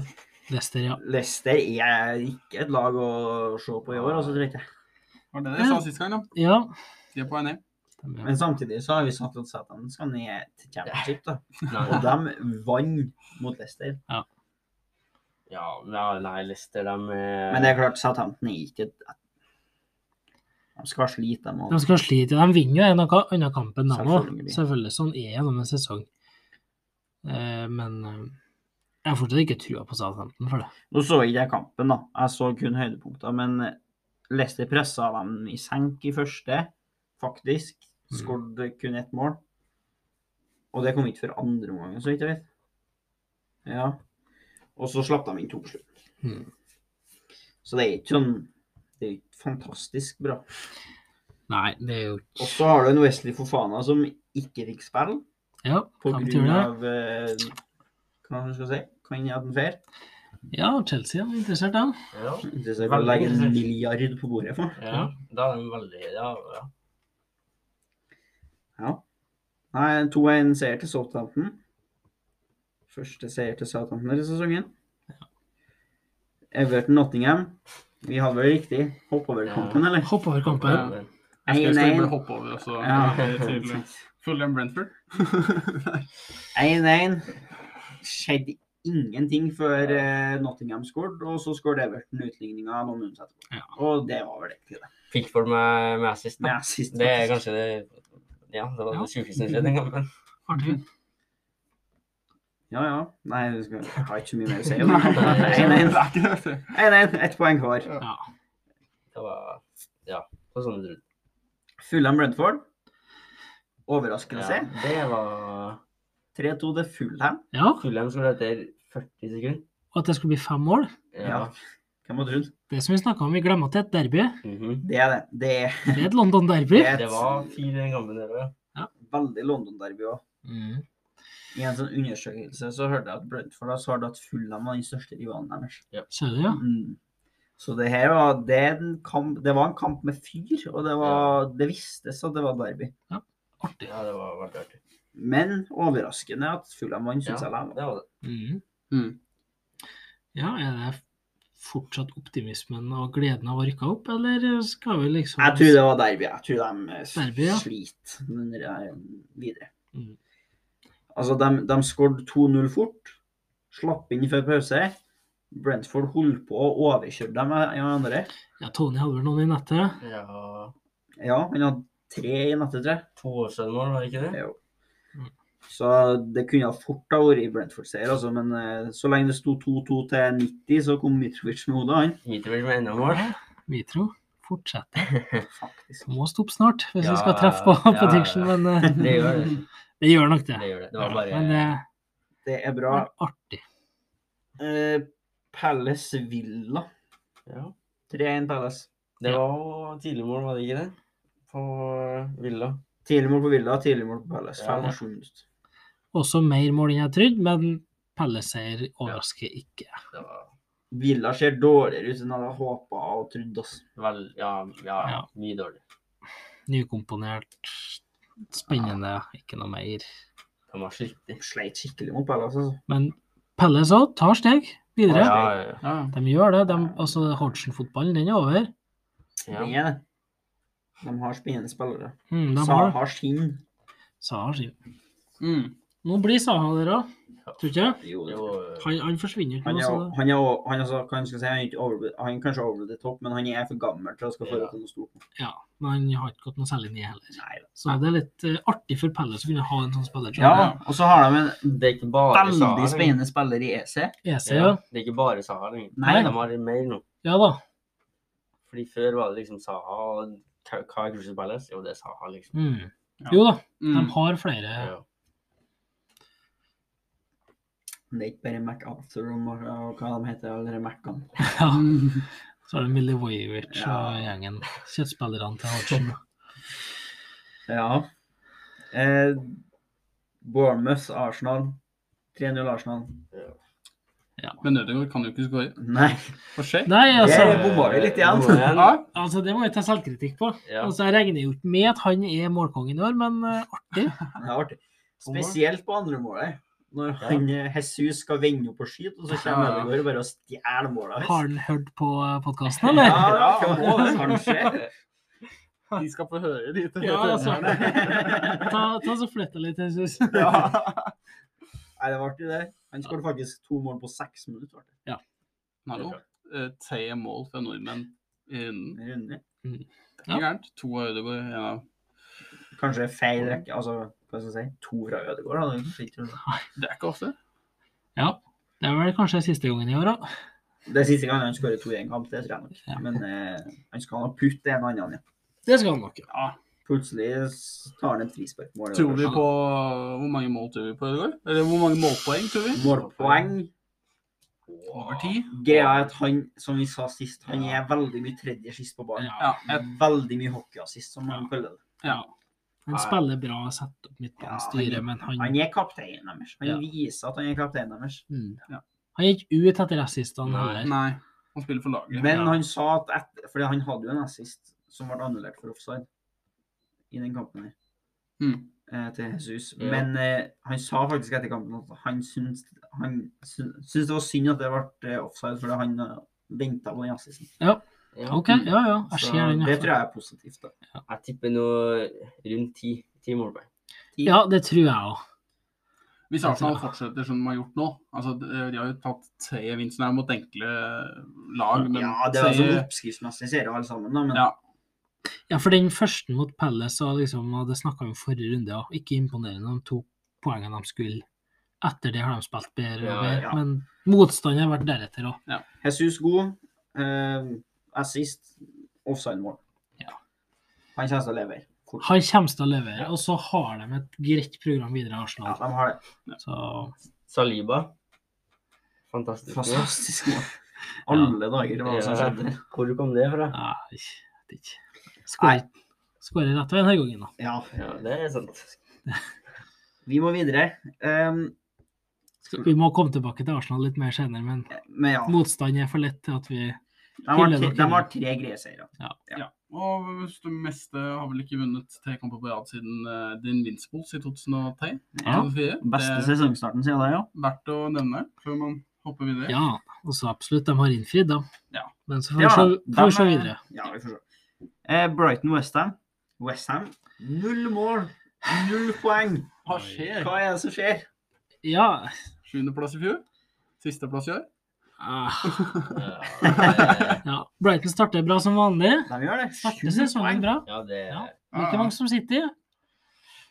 B: Leicester, ja.
A: Leicester er ikke et lag å se på i år, altså, tror jeg ikke.
D: Var det det jeg sa sist gang, da?
B: Ja.
D: De er på vei ned.
B: de er-
A: Men samtidig så har vi sagt at Southampton skal ned til championship, da.
C: Nei,
A: Og de vant mot Leicester.
C: ja, ja, nei, Leicester, eh, de er-
A: Men det er klart, Southampton er ikke et De skal være slite, de
B: De
A: òg.
B: skal slite. De vinner jo en av ka- annen kampen, de òg.
A: Selvfølgelig.
B: Selvfølgelig. Sånn er gjennom en sesong. Eh, men eh, jeg har fortsatt ikke trua på Southampton for det.
A: Nå så ikke jeg kampen, da. Jeg så kun høydepunkter. Men eh, Leicester pressa dem i senk i første, faktisk.
B: Mm.
A: Skåret kun ett mål. Og det kom ikke før andre omgangen, så vidt jeg vet. Ja. Og så slapp de inn to på slutt.
B: Mm.
A: Så det er ikke sånn Det er ikke fantastisk bra.
B: Nei, det er jo
A: Og så har du en Wesley Fofana som ikke fikk spille
B: Ja,
A: på
B: hva betyr
A: grunn
B: det?
A: av eh, Hva skal jeg si? Kan jeg ha den feil?
B: Ja, Chelsea er interessert, da.
C: ja.
B: Mm.
A: Det er å legge en milliard på bordet for.
C: Ja, da er de veldig ja, ja.
A: Ja. Nei, 2-1 seier til Southampton. Første seier til Southampton i sesongen. Everton Nottingham. Vi hadde vel riktig. Hoppa over kampen, eller?
B: Hopp over kampen.
C: Men-
D: Jeg skal- jeg skal
A: 1-1.
D: bare hoppe over og så
A: Ja.
D: til Fulham Brentford.
A: 1-1. Skjedde ingenting før eh, Nottingham skåret, og så skåret Everton utligninga noen minutter etterpå.
B: Ja.
A: Og det var vel egentlig det.
C: Pickford med, med assist.
A: Men
C: Da.
A: jeg sist,
C: Det er
A: faktisk.
C: kanskje det Ja, det var
B: Ja.
C: det sjukeste som skjedde den kampen.
B: Artig.
A: Ja, ja. Nei, vi skal- jeg har ikke så mye mer å si. om
D: Nei,
A: det.
D: det
C: Nei,
D: er
A: 1-1.
D: ikke det.
A: 1-1. Ett poeng hver.
B: Ja.
C: Det var Ja. Det var sånn det
A: Fulham Brentford. Overraskelse.
C: Det var
A: 3-2 til Fulham.
B: ja.
C: Fulham skulle etter 40 sekunder.
B: Og at det skulle bli fem mål.
A: Ja. Hvem hadde trodd?
B: Det som vi snakka om, vi glemmer at det er et derby.
C: Mhm.
A: Det er det. Det er
B: Det er et London-derby.
A: Ja.
C: Det var fire den kampen der òg, ja.
A: veldig London-derby òg.
B: Mm.
A: I en sånn undersøkelse så hørte jeg at Brentford har svart at Fulham var den største rivalen deres.
B: Ser du, ja.
A: Mm. Så det her var det, er en kamp, det var en kamp med fyr, og det, var, det vistes at det var derby.
B: Artig.
C: ja. Det var veldig artig.
A: Men overraskende at Fulham vant,
C: Ja,
A: syns jeg.
C: det
A: likevel.
C: var det.
B: Mm.
D: Mm.
B: Ja, er det fortsatt optimismen og gleden av å rykke opp, eller skal vi liksom
A: Jeg tror det var derby. Jeg tror de eh,
B: Derby, ja.
A: sliter med den der, eh, videre.
B: Mm.
A: Altså, de, de skåret 2-0 fort. Slapp inn før pause. Brentford holdt på å overkjøre dem eh, i andre.
B: Ja, Tony hadde vel noen i nettet.
C: Ja,
A: Ja, han hadde tre i nettet, tror jeg.
C: To år siden mål, var det ikke det?
A: Jo.
B: Mm.
A: Så det kunne ha fort ha vært Brentford-seier, altså, men eh, så lenge det sto 2-2 til 90, så kom Mitrovic med hodet, han.
C: Mitrovic med enda mål.
B: Mitro fortsetter.
A: Faktisk.
B: Må stoppe snart hvis
C: Ja,
B: vi skal treffe på
C: ja, ja.
B: prediction, men eh,
C: Det gjør det.
B: det gjør nok det.
C: Det gjør det. Det var bare
B: Men eh,
A: Det er
B: det
A: bra.
B: var artig.
A: Eh, Palace Villa.
C: ja.
A: 3-1 Palace.
C: Det var tidlig mål, var det ikke det? På eh, Villa.
A: Tidlig mål på Villa, tidlig mål på Palace.
C: Ja.
A: Fem og sju minutter.
B: Også mer mål enn jeg trodde, men Pelleseier overrasker ikke.
C: Det var
A: Villa ser dårligere ut enn jeg hadde håpa og trodd. ass.
C: vel Ja, ja,
B: Ja.
C: mye dårlig.
B: Nykomponert, spennende, ikke noe mer.
C: De var skikkelig.
A: Sleit skikkelig mot Palace, altså.
B: Men Pelle så tar steg videre.
C: Ja, ja,
D: Ja, ja.
B: De gjør det. De, altså, Hodgson-fotballen, den er over.
C: ja.
A: Det er det. De har spennende spillere.
B: Mm, de
A: Sa
B: har
A: har sin.
B: Saha sin.
D: Mm.
B: Nå blir Saha der òg, tror du ikke?
A: Jo,
C: Det
A: det
C: var,
B: Han, han forsvinner ikke
A: Han
B: nå,
A: er,
B: så
A: jo- han er, jo- han er, så, hva skal jeg si, han er ikke over, han er kanskje over the top, men han er for gammel til å skal få
C: Ja.
A: til noe stort.
B: ja. Men han har ikke gått noe særlig ned heller.
A: Nei da.
B: Så det er litt eh, artig for Pelle å kunne ha en sånn spiller. som
A: Ja, og så har de en
C: det er ikke bare Sahar,
A: veldig spennende spiller i E EC.
B: EC,
C: Ja,
B: E ja.
C: det er ikke bare Sahar lenger.
A: Nei.
C: De har mer nå.
B: Ja da.
C: Fordi før var det liksom Saha og hva hva er Crystal Palace? Jo, det er Saha, liksom.
B: Mm.
D: Ja.
B: Jo da, de
D: Mm.
B: har flere.
C: Ja.
A: Det er ikke bare MacArthur og Mar- og hva de heter, alle de Mac-ene.
B: Ja. Så er det Milivojevic og
A: Ja.
B: gjengen. Kjøttspillerne til Hodgson.
A: Ja. Eh, Bournemouth, Arsenal. 3-0 Arsenal.
D: Men Ødegaard kan jo ikke skåre.
A: Nei.
D: For seg.
B: Nei, altså,
A: Jeg bomma vi litt igjen.
C: Bomma igjen.
D: Ja.
B: altså Det må jeg ta selvkritikk på.
C: Ja.
B: Altså, Jeg regner jo ikke med at han er målkongen i år, men eh, artig.
A: Det er artig. Spesielt på andre målet. Når han, eh, Jesus skal vende opp og skyte, og så kommer
D: Ja, ja.
A: Ødegaard bare og stjeler målet
B: Har han hørt på podkasten,
A: Ja,
B: eller?
A: det må det kanskje.
D: Ah, De skal få høre de til
B: Ja, altså.
A: Nei,
B: Ta, ta så flytt deg litt, Jesus.
D: Ja.
A: det var artig, det. Han skåret faktisk to mål på seks minutter. Var
D: Hallo. Eh, Tre mål fra nordmenn innen.
A: det. En runde.
D: Ikke
B: Ja.
D: gærent. To av Ødegaard. en av-
A: Kanskje feil rekke Altså, hva skal jeg si? To fra Ødegaard. da. Det er kanskje ikke runde.
D: Det er ikke ofte.
B: Ja. Det er vel kanskje siste gangen i år, da.
A: Det er siste gang han skårer to i en kamp, det tror jeg nok. Men eh, han skal ha putte en og annen. Ja.
B: Det skal han nok.
D: Ja.
A: Plutselig s- tar han et frisparkmål.
D: Tror vi på Hvor mange mål tror vi på Ødegaard? Eller hvor mange målpoeng tror vi?
A: Målpoeng.
D: Over ti?
A: Greia er at han, som vi sa sist, han er veldig mye tredje sist på ballen.
D: Ja. Jeg,
A: Veldig mye hockeyassist, som han kaller det.
D: ja.
B: Han spiller bra, setter opp midtbanestyret, men han,
A: Han er kapteinen deres. Han
B: Ja.
A: viser at han er Mm. kapteinen deres.
B: mm.
D: Ja.
B: han gikk ut etter assistene
C: Nei.
B: heller.
D: Nei. Han spiller for laget.
A: Men
B: Ja.
A: han sa at etter, fordi han hadde jo en assist som ble annullert for offside i den kampen her,
D: Mm.
A: eh, til Jesus.
C: Ja.
A: Men eh, han sa faktisk etter kampen at han syns, han syn- syns det var synd at det ble eh, offside, fordi han eh, venta på den assisten.
C: Ja.
B: OK, ja ja. Jeg
A: Så
B: ser den.
A: det tror
B: ja.
A: jeg er positivt. da.
C: Jeg tipper nå rundt ti. Ti målpoeng.
B: Ja, det tror jeg òg.
D: Hvis Arsenal fortsetter som de har gjort nå altså De har jo tatt tre vinster her mot enkle lag, men
A: ja, det er jo sånn
D: tre-
A: oppskriftsmessig serier alle sammen, da, men
D: Ja.
B: Ja, for den første mot Palace, og liksom, og det snakka vi om forrige runde, og ikke imponerende. De tok poengene de skulle. Etter det har de spilt bedre og
C: Ja,
B: bedre,
A: ja.
B: men motstanden har vært deretter òg.
A: Jesus god, eh, assist, offside-mål.
B: Ja.
A: Han kommer til å levere. fort.
B: Han kommer til å levere, og så har de et greit program videre,
A: Ja,
B: Arsenal.
A: de har det.
B: Så
C: Saliba. Fantastisk. mål.
A: Fantastisk mål. Alle dager, hva var det som skjedde?
C: Ja. Hvor kom det fra?
B: ja, jeg vet ikke. Skårer skårer rett og slett denne gangen, da.
A: Ja,
C: Ja, det er sant.
A: vi må videre. Ehm,
B: Skal- Vi må komme tilbake til Arsenal litt mer senere, men
A: men ja,
B: motstand er for lett til at vi
A: de har,
B: hyller
A: tre,
B: dere.
A: de har tre greie seire.
D: ja. Og det meste har vel ikke vunnet tre kamper på rad siden uh, Din Vinspols i 2003.
B: Ja.
D: 2004.
A: Beste
D: Det
A: sesongstarten siden det, Eh, ja.
D: er verdt å nevne før man hopper videre.
B: Ja, også absolutt. De har innfridd, da.
D: Ja.
B: Men så får vi
A: Ja,
B: se,
A: de
B: får vi se
A: er-
B: videre.
A: Ja, vi får se. Eh, Brighton Westham. Westham null mål, null poeng.
D: Hva skjer?
A: Hva er det som skjer?
B: Ja,
D: Sjuendeplass i fjor? Sisteplass i år?
B: ah,
C: Ja,
B: ja. Brighton starter bra som vanlig.
A: De gjør det.
B: Starter
A: Sju
B: sesongen
A: poeng. Ah.
B: bra.
C: ja det er
B: Ja. Det er ikke mange som sitter i,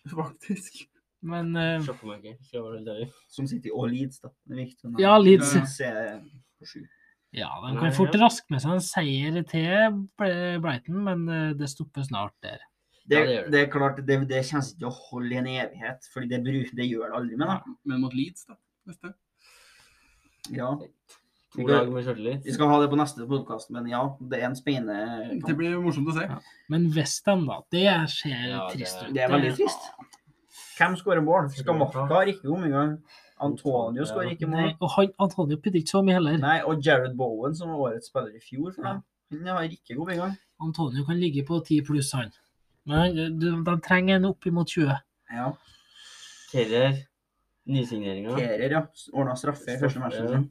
D: Faktisk.
B: men eh,
C: sjokkemerker. Skal jeg være helt ærlig.
A: Som sitter i og Leeds, da. Det er viktig. å nevne.
B: Ja, Leeds.
A: Leeds er på sju.
B: ja, de kan fort raske med seg en seier til Bre- Brighton, men eh, det stopper snart der.
A: Det,
C: Ja, det gjør det.
A: det er klart, det, det kommer ikke til å holde i en evighet, fordi det, bru- det gjør det aldri med, da.
D: Men mot Leeds, da. Neste.
A: Ja.
C: To lag med sjøltillit.
A: Vi skal ha det på neste podkast, men ja, det er en spennende
D: Det blir morsomt å se.
B: Ja. Men Westham, da. Det ser
C: Ja, det-
B: trist ut.
A: Det er veldig trist. Hvem skårer mål? Skamakka har ikke kommet i gang. Antonio skårer ikke
B: Nei,
A: mål.
B: og han, Antonio putter ikke så mye heller.
A: Nei, og Jared Bowen, som var årets spiller i fjor, for dem, han har ikke kommet i gang.
B: Antonio kan ligge eh, på 10 pluss, han. Men han- de, de trenger en opp imot 20.
A: Ja.
C: Kane Kerrer. Nysigneringa.
A: Kerer, ja. Ordna straffe i første matchen sin.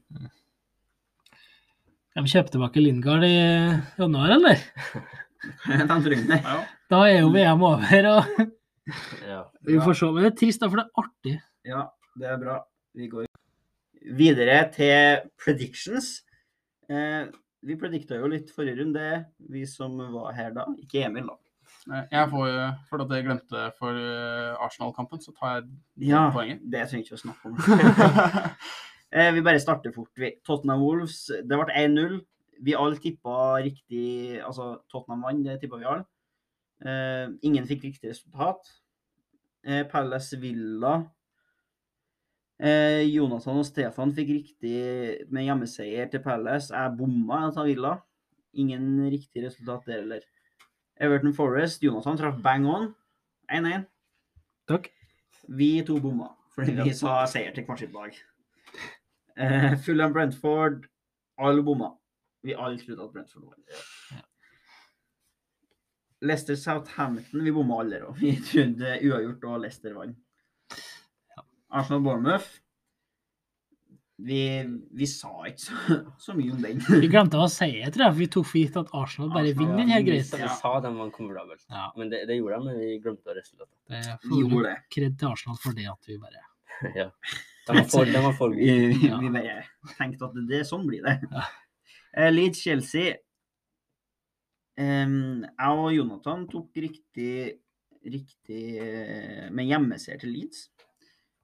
B: De kjøper tilbake Lindgard i januar, eller?
A: De trenger det.
D: Ja,
B: Da er
A: Mm.
B: jo VM over. og
C: Ja.
B: Vi får se. Men det er trist, da, for det er artig.
A: Ja, det er bra. Vi går videre til predictions. Eh, vi predikta jo litt forrige runde, vi som var her da. Ikke Emil, da.
D: Eh, Jeg får jo, for at jeg glemte for eh, Arsenal-kampen, så tar jeg
A: Ja,
D: poenget.
A: det trenger vi ikke å snakke om. eh, vi bare starter fort, vi. Tottenham Wolves, det ble 1-0. Vi alle tippa riktig Altså, Tottenham vant, det tippa vi alle. Eh, ingen fikk riktig resultat. Eh, Palace Villa eh, Jonathan og Stefan fikk riktig med hjemmeseier til Palace. Jeg bomma, jeg sa Villa. Ingen riktig resultat der heller. Everton Forest, Jonathan traff bang on. 1-1.
B: Takk.
A: Vi to bomma, fordi vi sa seier til hvert sitt lag. Uh, Fulham Brentford, alle bomma. Vi alle trodde at Brentford var Leicester Southampton, vi bomma alle der òg. Vi trodde uavgjort og Leicester vant. Arsenal Bournemouth. Vi, vi sa ikke så, så mye om den.
B: Vi glemte å si det, tror jeg. for Vi tok for gitt at Arsenal bare
A: Arsenal,
B: vinner den
C: Ja,
B: her
C: vi sa-
B: greia.
C: Vi sa de var komfortable.
B: Ja.
C: Men det, det gjorde de, men vi glemte å resultatet.
B: Det
A: Vi
B: får
A: gjorde det.
B: kred til Arsenal for det at vi bare
C: ja. De var for, de var for
A: Vi,
C: gode.
B: Ja.
A: vi bare tenkte at det, sånn blir det.
B: Ja.
A: Eh, Leeds-Chelsea. Em, jeg og Jonathan tok riktig, riktig eh, med hjemmeseier til Leeds.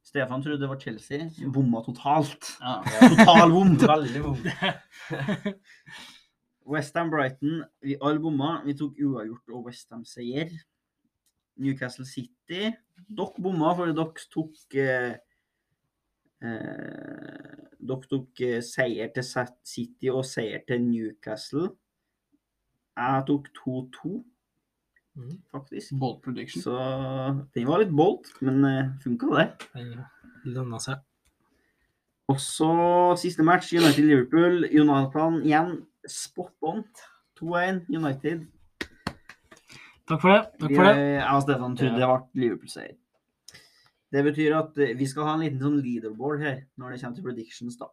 A: Stefan trodde det var Chelsea. Bomma totalt.
D: Ja.
A: Total bom.
C: Veldig gode.
A: Westham Brighton, vi alle bomma. Vi tok uavgjort og Westham-seier. Newcastle City. Dere bomma fordi dere tok eh, eh, Dere tok eh, seier til Sa- City og seier til Newcastle. Jeg tok 2-2,
B: Mhm.
A: faktisk.
D: Bold prediction.
A: Så den var litt bolt, men eh, funka, det.
B: lønna seg.
A: Og så siste match, United-Liverpool. Jonathan igjen, spot on. 2-1 United.
B: Takk for det. Takk
A: Vi, eh,
B: for det.
A: Jeg og Stefan trodde det ble Liverpool-seier. Det betyr at eh, vi skal ha en liten sånn leaderboard her når det kommer til predictions, da.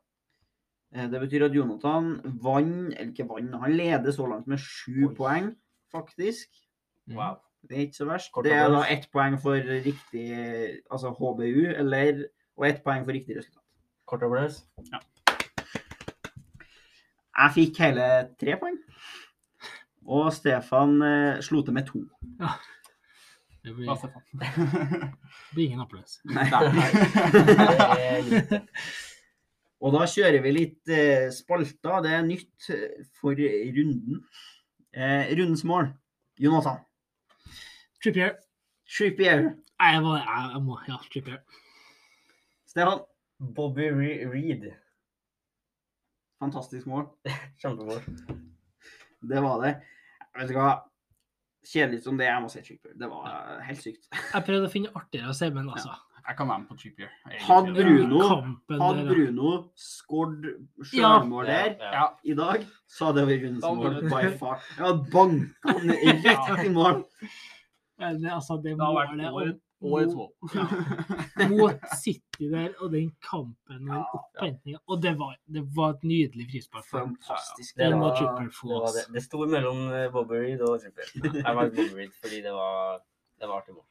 A: Eh, Det betyr at Jonathan vant, eller ikke vant, han leder så langt med sju
C: Oi.
A: poeng, faktisk. Mm.
C: Wow.
A: Det er ikke så verst.
C: Kort
A: Det er da
C: applaus.
A: ett poeng for riktig, altså HBU, eller Og ett poeng for riktig resultat.
C: Kort applaus.
A: Jeg fikk hele tre poeng. Og Stefan eh, slo til med to.
B: Det blir,
D: Hva, Stefan?
B: blir ingen applaus.
C: Det
D: Nei.
C: er lite.
A: Og da kjører vi litt eh, spalter. Det er nytt eh, for runden. Eh, rundens mål. Jonathan.
B: Trippier.
A: Trippier.
B: Nei, jeg må, jeg, jeg må Ja, Trippier.
A: Stefan.
C: Bobby Re Reed.
A: Fantastisk mål.
C: Kjempemål.
A: Det var det. Vet du hva? Kjedelig som det er, jeg må si Trippier. Det var eh, helt sykt.
B: Jeg prøvde å finne artigere å si, men altså
D: Jeg kan være med på cheap year. egentlig.
A: Had Bruno-
B: kampen
A: Hadde
B: der,
A: Bruno skåret
B: eh, Ja.
A: sjølmål der
D: Ja.
A: i dag, så hadde det vært rundens
D: Da var
A: mål
D: det-
A: by far. Ja, banka han rett i mål.
B: ja. Men altså, det
D: Det har vært
B: målet og-
D: året- årets mål.
B: mot City der, og den kampen og den opphentinga. Og det var, det var et nydelig frispark. for dem.
A: Fantastisk.
C: Det
B: Den
C: var-
B: må Trippier
C: Det,
B: få.
C: var det.
B: ass.
C: det sto mellom eh, Bobby Reed og Trippier. Jeg valgte Bobby Reed fordi det var, det var artig mål.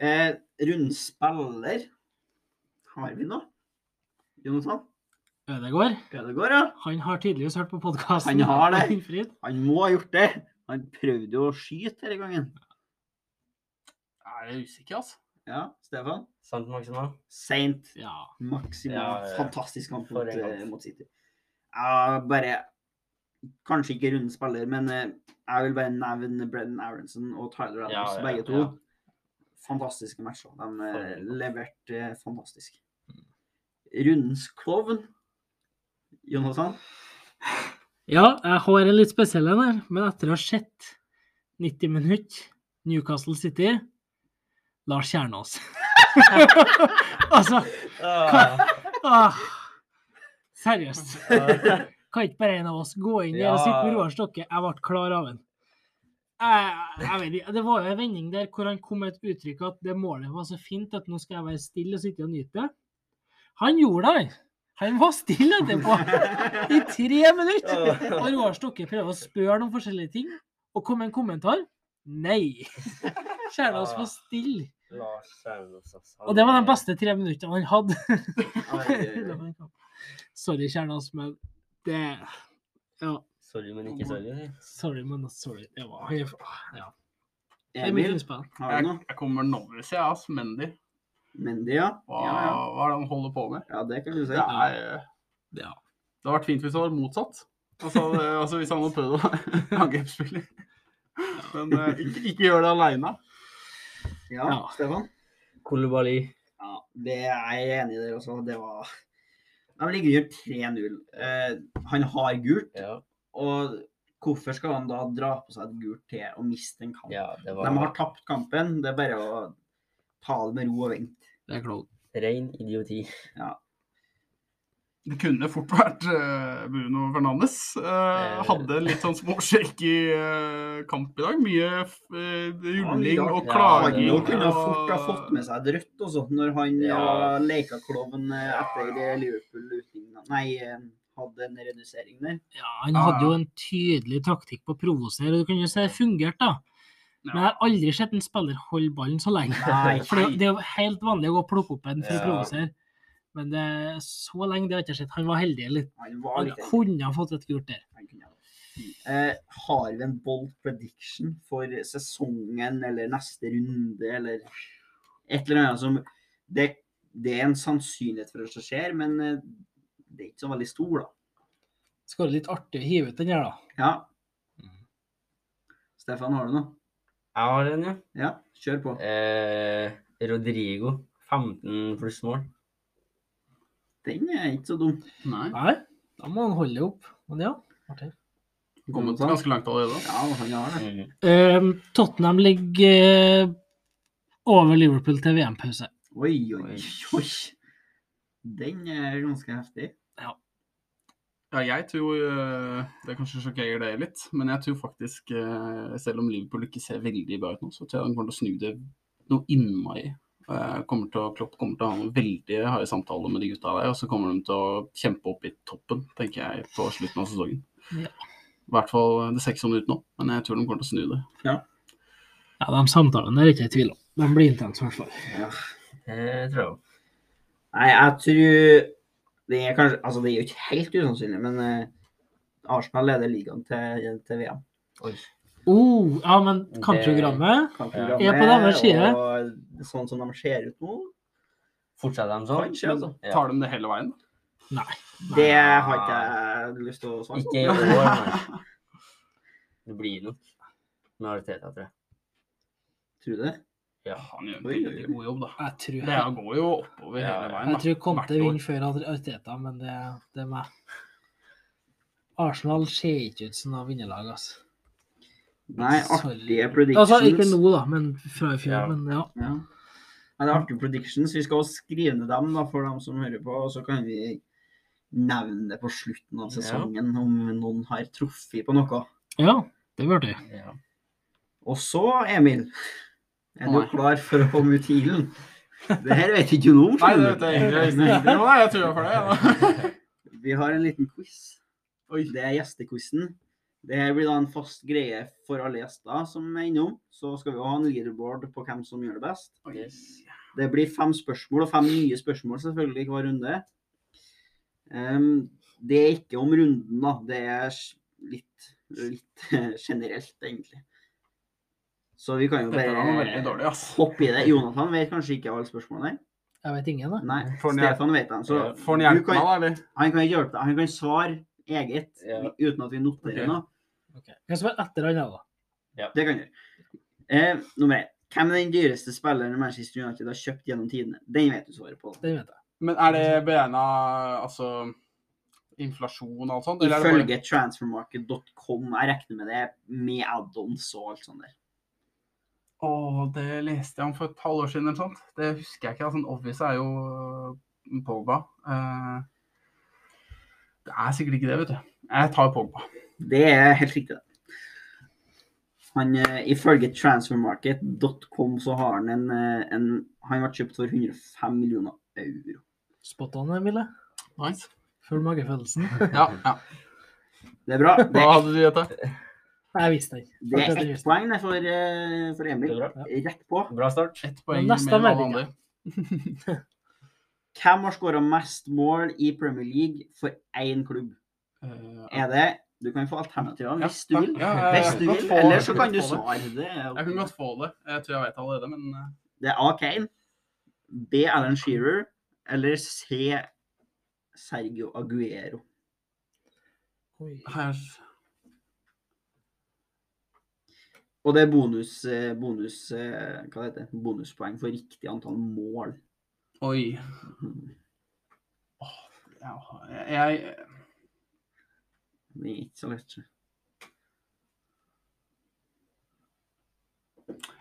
A: Eh, rundens spiller har vi nå. Jonathan
B: Ødegaard,
A: Ødegaard, ja.
B: han har tydeligvis hørt på podkasten.
A: Han har det. Han må ha gjort det. Han prøvde jo å skyte denne gangen.
D: Jeg er usikker, altså.
A: Ja, Stefan.
C: Sant, Maxima?
A: Seint.
B: Ja.
A: Maximal.
C: Ja, ja.
A: Fantastisk kamp mot,
C: For en kamp.
A: eh, mot City. Jeg bare Kanskje ikke rundens spiller, men eh, jeg vil bare nevne Brennan Aronson og Tyler
C: Ja,
A: Adams,
C: ja,
A: begge to.
C: ja.
A: Fantastiske matcher. De eh,
C: For en kamp. Mm.
A: leverte eh, fantastisk. Rundens klovn, Jonathan.
B: ja, jeg har en litt spesiell en her, men etter å ha sett 90 minutter Newcastle City Lars Kjernås. altså ah, Seriøst. Kan ikke bare en av oss gå inn der og sitte med
C: Ja.
B: Roar Stokke? Jeg ble klar av den. Jeg, jeg vet ikke, Det var jo en vending der hvor han kom med et uttrykk at det målet var så fint at nå skal jeg være stille og sitte og nyte det. Han gjorde det! Han var stille etterpå i tre minutter! Og Roar Stokke prøver å spørre om forskjellige ting, og kom med en kommentar. Nei! Skjærnås var stille.
C: Lars Kjernås, altså.
B: Og det var de beste tre minuttene han hadde.
C: Ai, ai, ai.
B: Sorry, Kjernås, men det Ja,
C: Sorry, men ikke sorry.
B: sorry, men not sorry. Det var ah, ja. Det er mye
A: Emil,
B: innspill.
A: har du
D: Jeg,
A: noe?
D: jeg kommer novice, jeg, ass. Mendy.
A: Mendy, ja.
D: Hva,
A: Ja, ja.
D: hva er det han holder på med?
A: ja, det kan du si.
D: Det er eh,
B: Ja.
D: Det hadde vært fint hvis det var motsatt. Altså, det, altså hvis han hadde prøvd å være angrepsspiller. Men eh, ikke, ikke gjør det aleine.
A: Ja,
B: Ja.
A: Stefan?
C: Kolibali.
A: Ja, det er jeg enig i der også. Det var De ligger under 3-0. Eh, han har gult,
C: Ja,
A: og hvorfor skal han da dra på seg et gult til og miste en kamp?
C: ja, det
A: De har
C: var
A: tapt kampen, det er bare å ta det med ro og vente.
B: Det er klart.
C: ren idioti.
D: Det kunne fort vært eh, Bruno Fernandes. Eh, hadde litt sånn småskjelk i eh, kamp i dag. Mye f- eh, rulling
C: Ja,
D: og klaging.
A: Agio
C: og-
A: kunne ha fort ha fått med seg et rødt også, når han ja.
C: Ja.
A: leka klovn eh, etter eh, Liverpool utlignet- Nei, eh, hadde en redusering der.
B: Ja, han
D: Ja,
B: hadde jo
D: ja.
B: en tydelig taktikk på å provosere, og du kan jo si det fungerte, da. Men jeg
D: Ja.
B: har aldri sett en spiller holde ballen så lenge.
A: Nei,
B: For det, det er jo helt vanlig å gå og plukke opp en for
C: Ja.
B: å provosere. Men det, så lenge det har jeg ikke sett. Han var heldig. litt.
A: han var
B: Han
A: litt
B: kunne ha fått et gult der.
A: han kunne ha det. Eh, har vi en bold prediction for sesongen eller neste runde eller et eller annet som Det, det er en sannsynlighet for at det skjer, men eh, det er ikke så veldig stor, da.
B: Skal være litt artig å hive ut den her, da.
A: Ja. Stefan, har du noe?
C: Jeg har en, ja.
A: Ja, kjør på.
C: Eh, Rodrigo. 15 pluss mål.
A: Den er ikke så dum.
D: Nei.
B: Nei, da må han holde det opp. Men ja. artig.
D: Kommet ganske langt allerede.
A: Ja, han har det.
C: Mm.
B: Ehm, Tottenham ligger eh, over Liverpool til VM-pause.
A: Oi, oi, oi. Den er ganske heftig.
D: Ja, jeg tror eh, Det kanskje sjokkerer deg litt, men jeg tror faktisk, eh, selv om Liverpool ikke ser veldig bra ut nå, så tror jeg han kommer til å snu det noe innmari. Eh, kommer til å, Klopp kommer til å ha noen veldig harde samtaler med de gutta der, og så kommer de til å kjempe opp i toppen, tenker jeg, på slutten av sesongen.
B: Ja.
D: I hvert fall eh, det ser ikke sånn ut nå, men jeg tror de kommer til å snu det.
B: Ja, de samtalene er ikke i tvil om. De blir intense, i hvert fall.
C: Det Eh, tror jeg òg.
A: Nei, jeg tror Det er kanskje Altså, det er jo ikke helt usannsynlig, men eh, Arsenal leder ligaen til, til VM.
C: Oi.
B: Oh, ja, men kampprogrammet
A: Kampprogrammet,
B: Ja, på deres side.
A: Og sånn som de ser ut nå
C: Fortsetter de sånn?
A: Kanskje, altså.
C: Ja.
D: Tar de det hele veien?
B: Nei.
A: Det har ikke jeg lyst til å svare
C: Ikke i
A: på.
C: år, nei. Det blir nok med Arteta, tror jeg.
A: Tror du det?
C: Ja.
D: Han gjør
A: Oi,
D: en
A: oi, oi.
D: veldig god jobb, da.
B: Jeg tror,
D: Det her går jo oppover
C: Ja,
D: hele veien.
B: jeg
D: da.
B: tror
D: Hvert
B: Conte
D: år.
B: vinner før Arteta, men det, det er meg. Arsenal ser ikke ut som noe vinnerlag, altså.
A: Nei,
B: Sorry.
A: artige predictions.
B: Altså, ikke nå, da, men fra i fjor.
C: Ja.
B: Men ja.
A: Ja. Nei, det er artige predictions. Vi skal også skrive ned dem da, for dem som hører på, og så kan vi nevne det på slutten av sesongen om noen har truffet på noe.
B: ja, det blir artig.
C: ja.
A: Og så, Emil, er du
D: Nei.
A: klar for å komme ut i ilden? Det her vet ikke du noe om.
D: Nei, det
A: skjønner
D: vet
A: du.
D: jeg egentlig jeg visste ikke. Jo, nei, Jeg tror jeg får det. Ja.
A: Vi har en liten quiz.
D: Oi.
A: Det er gjestequizen. Det her blir da en fast greie for alle gjester som er innom. Så skal vi jo ha en leaderboard på hvem som gjør det best.
C: Yes.
A: Det blir fem spørsmål, og fem nye spørsmål selvfølgelig i hver runde. Ehm, det er ikke om runden, da. Det er s- litt, litt generelt, egentlig. Så vi kan jo
D: Dette var noe
A: bare
D: veldig dårlig, ass.
A: hoppe i det. Jonathan vet kanskje ikke alle spørsmålene.
B: Jeg vet ingen, da.
A: Nei,
D: Får han hjelp- Eh,
A: Stefan vet dem. Så
D: Får han
A: du
D: hjelpe
A: kan,
D: meg, da, eller?
A: han kan hjelpe deg. Han kan svare eget
C: Ja.
A: uten at vi noterer
D: Ok.
A: noe.
B: Okay. Jeg skal være etter han, jeg, da.
A: Det kan du gjøre. Eh, nummer én. Hvem er den dyreste spilleren Manchester United har kjøpt gjennom tidene? Den vet du svaret på.
B: Den vet jeg.
D: Men er det beregna altså, inflasjon og alt sånt? eller er det bare-
A: Ifølge transfermarket.com. Jeg regner med det med add-ons og alt sånt der.
D: Å, det leste jeg om for et halvår siden eller sånt. Det husker jeg ikke. Altså, Obvious er jo øh, Pogba. Eh, det er sikkert ikke det, vet du. Jeg tar Pogba.
A: Det er helt riktig, det. Han, eh, ifølge transfermarket.com så har han en, eh, en Han ble kjøpt for 105 millioner euro.
B: Spot on, Emile.
D: Nice.
B: Følg magefølelsen.
D: Ja, ja.
A: Det er bra. Det,
D: Hva hadde du gjetta?
B: Nei, Jeg visste ikke.
A: det er
B: Fortsett,
A: ett
B: Øystein.
A: poeng det, for, eh, for Emil.
C: Det er
A: Rett på.
C: Bra start.
D: Ett poeng
B: Neste
D: mer enn alle
B: melding, ja.
D: andre.
A: Hvem har skåra mest mål i Premier League for én klubb?
D: Eh,
A: Er det Du kan få alternativer
D: Ja,
A: hvis du vil.
D: ja, ja, ja.
A: Hvis du
D: Jeg kan
A: vil.
D: få-
A: Eller
D: jeg
A: så
D: kan
A: kan du
D: få det.
A: svare. Det er,
D: Jeg kan godt få det. Jeg tror jeg vet allerede, men eh,
A: det er A. Kane, B. Alan Shearer eller C. Sergio Aguero.
B: Oi.
D: her
A: Og det er bonus, eh, bonus eh, Hva heter det? Bonuspoeng for riktig antall mål.
D: Oi. Åh, ja, jeg
A: Det er ikke så lett. så.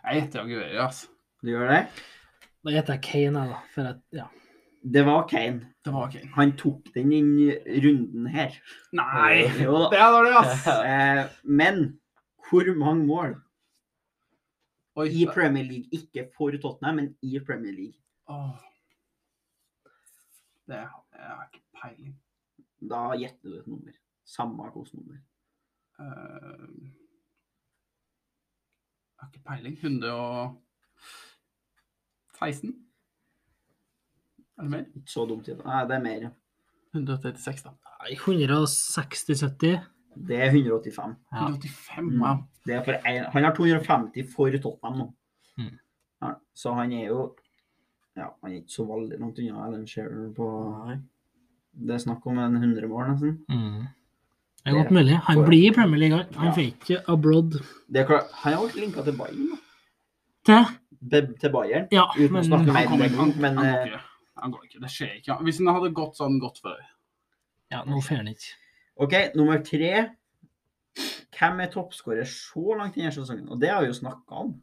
D: Jeg gjetter Aguero, altså.
A: Du gjør det?
B: Da gjetter jeg Kane, jeg, da. For at, ja.
A: Det var Kane.
D: Det var Kane.
A: Han tok den inn i runden her.
D: Nei!
A: Jo da.
D: Det er dårlig, ass!
A: Eh, men hvor mange mål
D: Oi.
A: i Premier League? Ikke for Tottenham, men i Premier League.
D: Åh. Det jeg har ikke peiling.
A: Da gjetter du et nummer. Samme hvilket nummer.
D: Eh, jeg har ikke peiling. 116? Er det mer?
A: Ikke så dumt. i det. Nei, det er mer.
D: 136, da.
B: Nei, 160-70.
A: Det er 185.
B: Ja.
D: 185, wow.
A: Det er for en, han har 250 for Tottenham nå.
B: Mm.
A: Ja, så han er jo ja, Han er ikke så veldig langt unna Alan Shearer på Det er snakk om en 100 mål, nesten.
B: Mm. Det er godt mulig. Han blir i Premier League. han. Han
A: Ja.
B: får ikke abroad
A: Det er klart, han har vært linka til Bayern. da.
B: til.
A: Be- Til Bayern.
B: Ja,
A: Uten å
B: men
A: snakke
D: Han
A: mer om
D: kommer
A: det,
D: ikke. Han,
A: men
D: han går
A: eh,
D: ikke. Han går ikke. Det skjer ikke. Hvis han hadde gått sånn godt før
B: ja, nå får han ikke.
A: OK, nummer tre. Hvem er toppskårer så langt i denne sesongen? Og det har vi jo snakka om.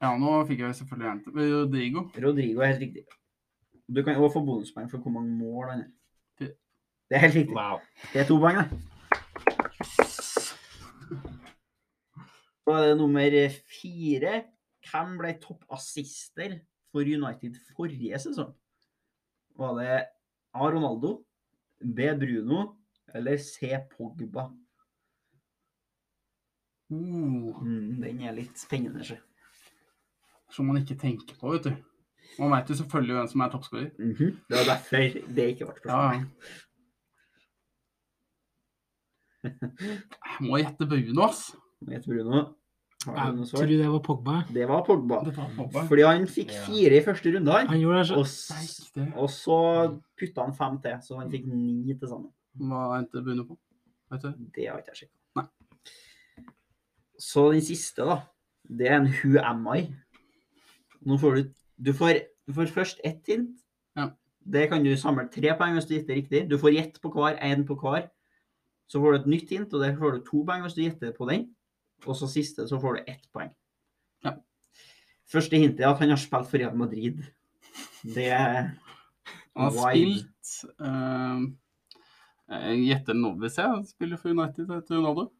D: Ja, nå fikk jeg selvfølgelig en til. Men Rodrigo.
A: Rodrigo er helt riktig. Du kan òg få bonuspoeng for hvor mange mål han er.
D: Det-
A: Det er helt riktig.
C: Wow.
A: Det er to poeng, det. Så er det nummer fire. Hvem ble toppassister for United forrige sesong? Var det A. Ronaldo, B. Bruno eller C. Pogba?
D: Uh,
A: Mm, den er litt spennende. sjø.
D: som man ikke tenker på, vet du. Man veit jo selvfølgelig hvem som er toppskårer.
A: Mhm. Det var derfor det ikke ble
D: Ja,
A: spørsmål.
D: ja. Jeg må gjette Bruno, ass.
A: Hva heter Bruno? Har du noe
B: Jeg
A: svar?
B: tror det var Pogba.
A: Det var Pogba.
D: Det var Pogba.
A: Fordi han fikk
C: Ja.
A: fire i første runde, han.
B: Han gjorde det så
A: Og,
D: Nei,
A: s-
D: det
A: og så putta han fem til, så han fikk ni til sammen.
D: Hva endte Bruno på? Vet du?
A: Det har ikke jeg
D: Nei.
A: sjekka. Så den siste, da. Det er en Who am I? Nå får du Du får, du får først ett hint.
D: Ja.
A: Det kan du samle tre poeng hvis du gjetter riktig. Du får gjett på hver, én på hver. Så får du et nytt hint, og der får du to poeng hvis du gjetter på den. Og så siste, så får du ett poeng.
D: Ja.
A: Første hintet er at han har spilt for Real Madrid. Det er
D: Han har
A: Why?
D: spilt eh, Jeg gjetter Novis, jeg. Han spiller for United etter Ronaldo.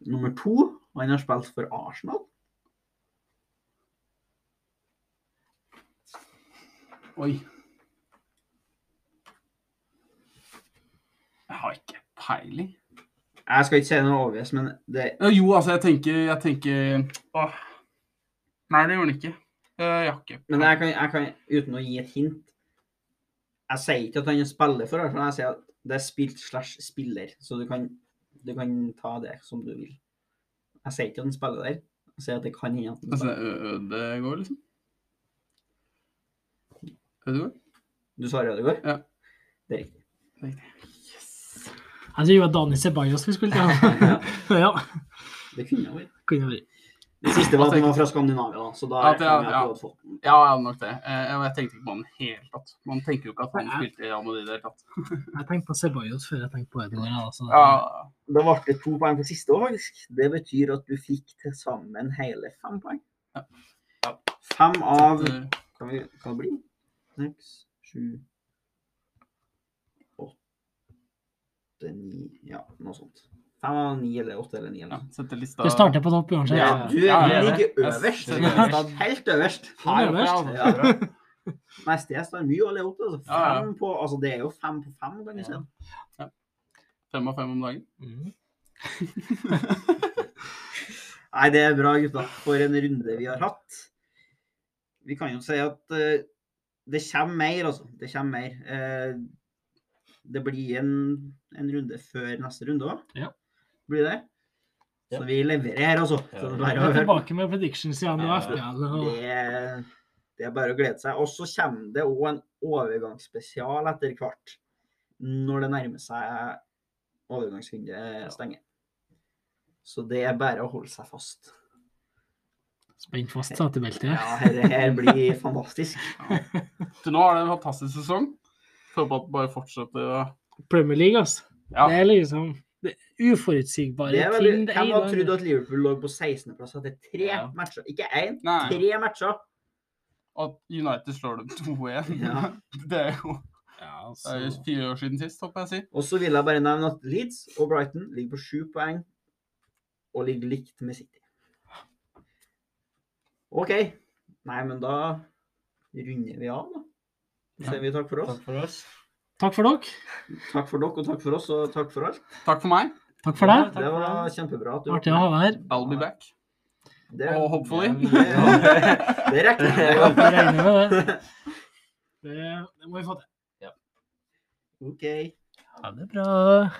A: nummer to. Han har spilt for Arsenal.
D: Oi. Jeg har ikke peiling.
A: Jeg skal ikke si noe obvious, men det,
D: Ja, Jo, altså, jeg tenker, jeg tenker Åh. Nei, det gjorde han ikke. Eh, Jeg har ikke
A: Men jeg kan, jeg kan, uten å gi et hint Jeg sier ikke at han er spiller for Arsenal, jeg sier at det er spilt slash spiller. Så du kan, du kan ta det som du vil. Jeg sier ikke at han spiller der. Jeg sier at det kan hende at han
D: altså,
A: spiller.
D: Ø- Ødegaard, liksom. Ødegaard?
A: Du sa Rødegård?
D: Ja.
A: Det er riktig.
D: Yes.
B: Jeg tror det var Dani Ceballos vi skulle ta. ja,
A: Det kunne ha vært.
B: kunne vært.
A: Det siste var at han var
D: tenker-
A: fra Skandinavia, da, så da
D: Ja, det-
A: regner jeg med
D: ja.
A: at du hadde fått den.
D: Ja, jeg hadde nok det. Eh, Jeg, jeg tenkte ikke på han helt tatt. Man tenker jo ikke at han
B: Nei.
D: spilte i Real Madrid i det hele tatt.
B: Jeg tenkte på Ceballos før jeg tenkte på Edvard. ja, Altså.
D: Ja,
A: Da ble det to poeng på siste òg, faktisk. Det betyr at du fikk til sammen hele fem poeng.
D: Ja.
A: Fem av
D: det-
A: Kan vi hva det blir? Seks, sju Åtte, ni Ja, noe sånt. Fem av ni eller åtte eller ni. eller
D: Ja,
A: noe sånt.
D: sette lista
B: Du starter på topp uansett.
A: Ja,
D: ja.
A: du
D: Ja, ja, ja.
A: ligger
D: Jeg
A: øverst.
D: ser
A: øverst.
D: det.
A: Helt øverst.
B: Han er øverst.
D: altså.
A: Ja. Mest jeg står mye alle opp. Altså.
D: Ja, ja.
A: Fem på, altså det er jo fem på fem. kan jeg si.
D: Ja. Fem av fem om dagen.
B: Mm.
A: Nei, det er bra, gutta. For en runde vi har hatt. Vi kan jo si at eh, det kommer mer, altså. Det kommer mer. Eh, det blir en, en runde før neste runde òg.
B: Ja.
A: Blir det?
C: Ja.
A: Så vi leverer her, altså.
C: Ja.
A: Så det er
B: Vi
A: bare å
B: er
A: høre på.
B: tilbake med predictions igjen og
C: Ja.
B: FPL. Og...
A: Det, det er bare å glede seg. Og så kommer det òg en overgangsspesial etter hvert. Når det nærmer seg overgangsrunde stenger. Så det er bare å holde seg fast.
B: Spent fast setebeltet.
A: Ja, dette her blir fantastisk.
D: Til nå har det en fantastisk sesong. Så Håper at det bare fortsetter å
B: Premier League, altså.
D: Ja.
B: Det er liksom det er uforutsigbare
A: Det er veldig,
B: ting.
A: hvem
B: ene
A: hadde
B: og det
A: trodd at Liverpool lå på 16.-plass etter tre
D: Ja.
A: matcher? Ikke én,
D: Nei.
A: tre matcher.
D: At United slår dem 2-1.
A: Ja.
D: Det er jo
B: andre. ja,
D: det er jo
B: altså.
D: fire år siden sist, håper jeg å si.
A: Og så vil jeg bare nevne at Leeds og Brighton ligger på sju poeng og ligger likt med City. OK. Nei, men da runder vi av, da. Så sier vi takk for oss.
C: Takk for oss.
B: Takk for dere.
A: Takk for dere, og takk for oss, og takk for alt.
D: Takk for meg.
B: Takk for deg.
A: Det var kjempebra at du
B: Artig å ha deg her.
D: I'll be back.
A: Det,
D: Og hopefully.
A: Ja. det rekker jeg.
B: Jeg regner med det. Det, det må vi få til.
A: OK.
B: Ha det bra.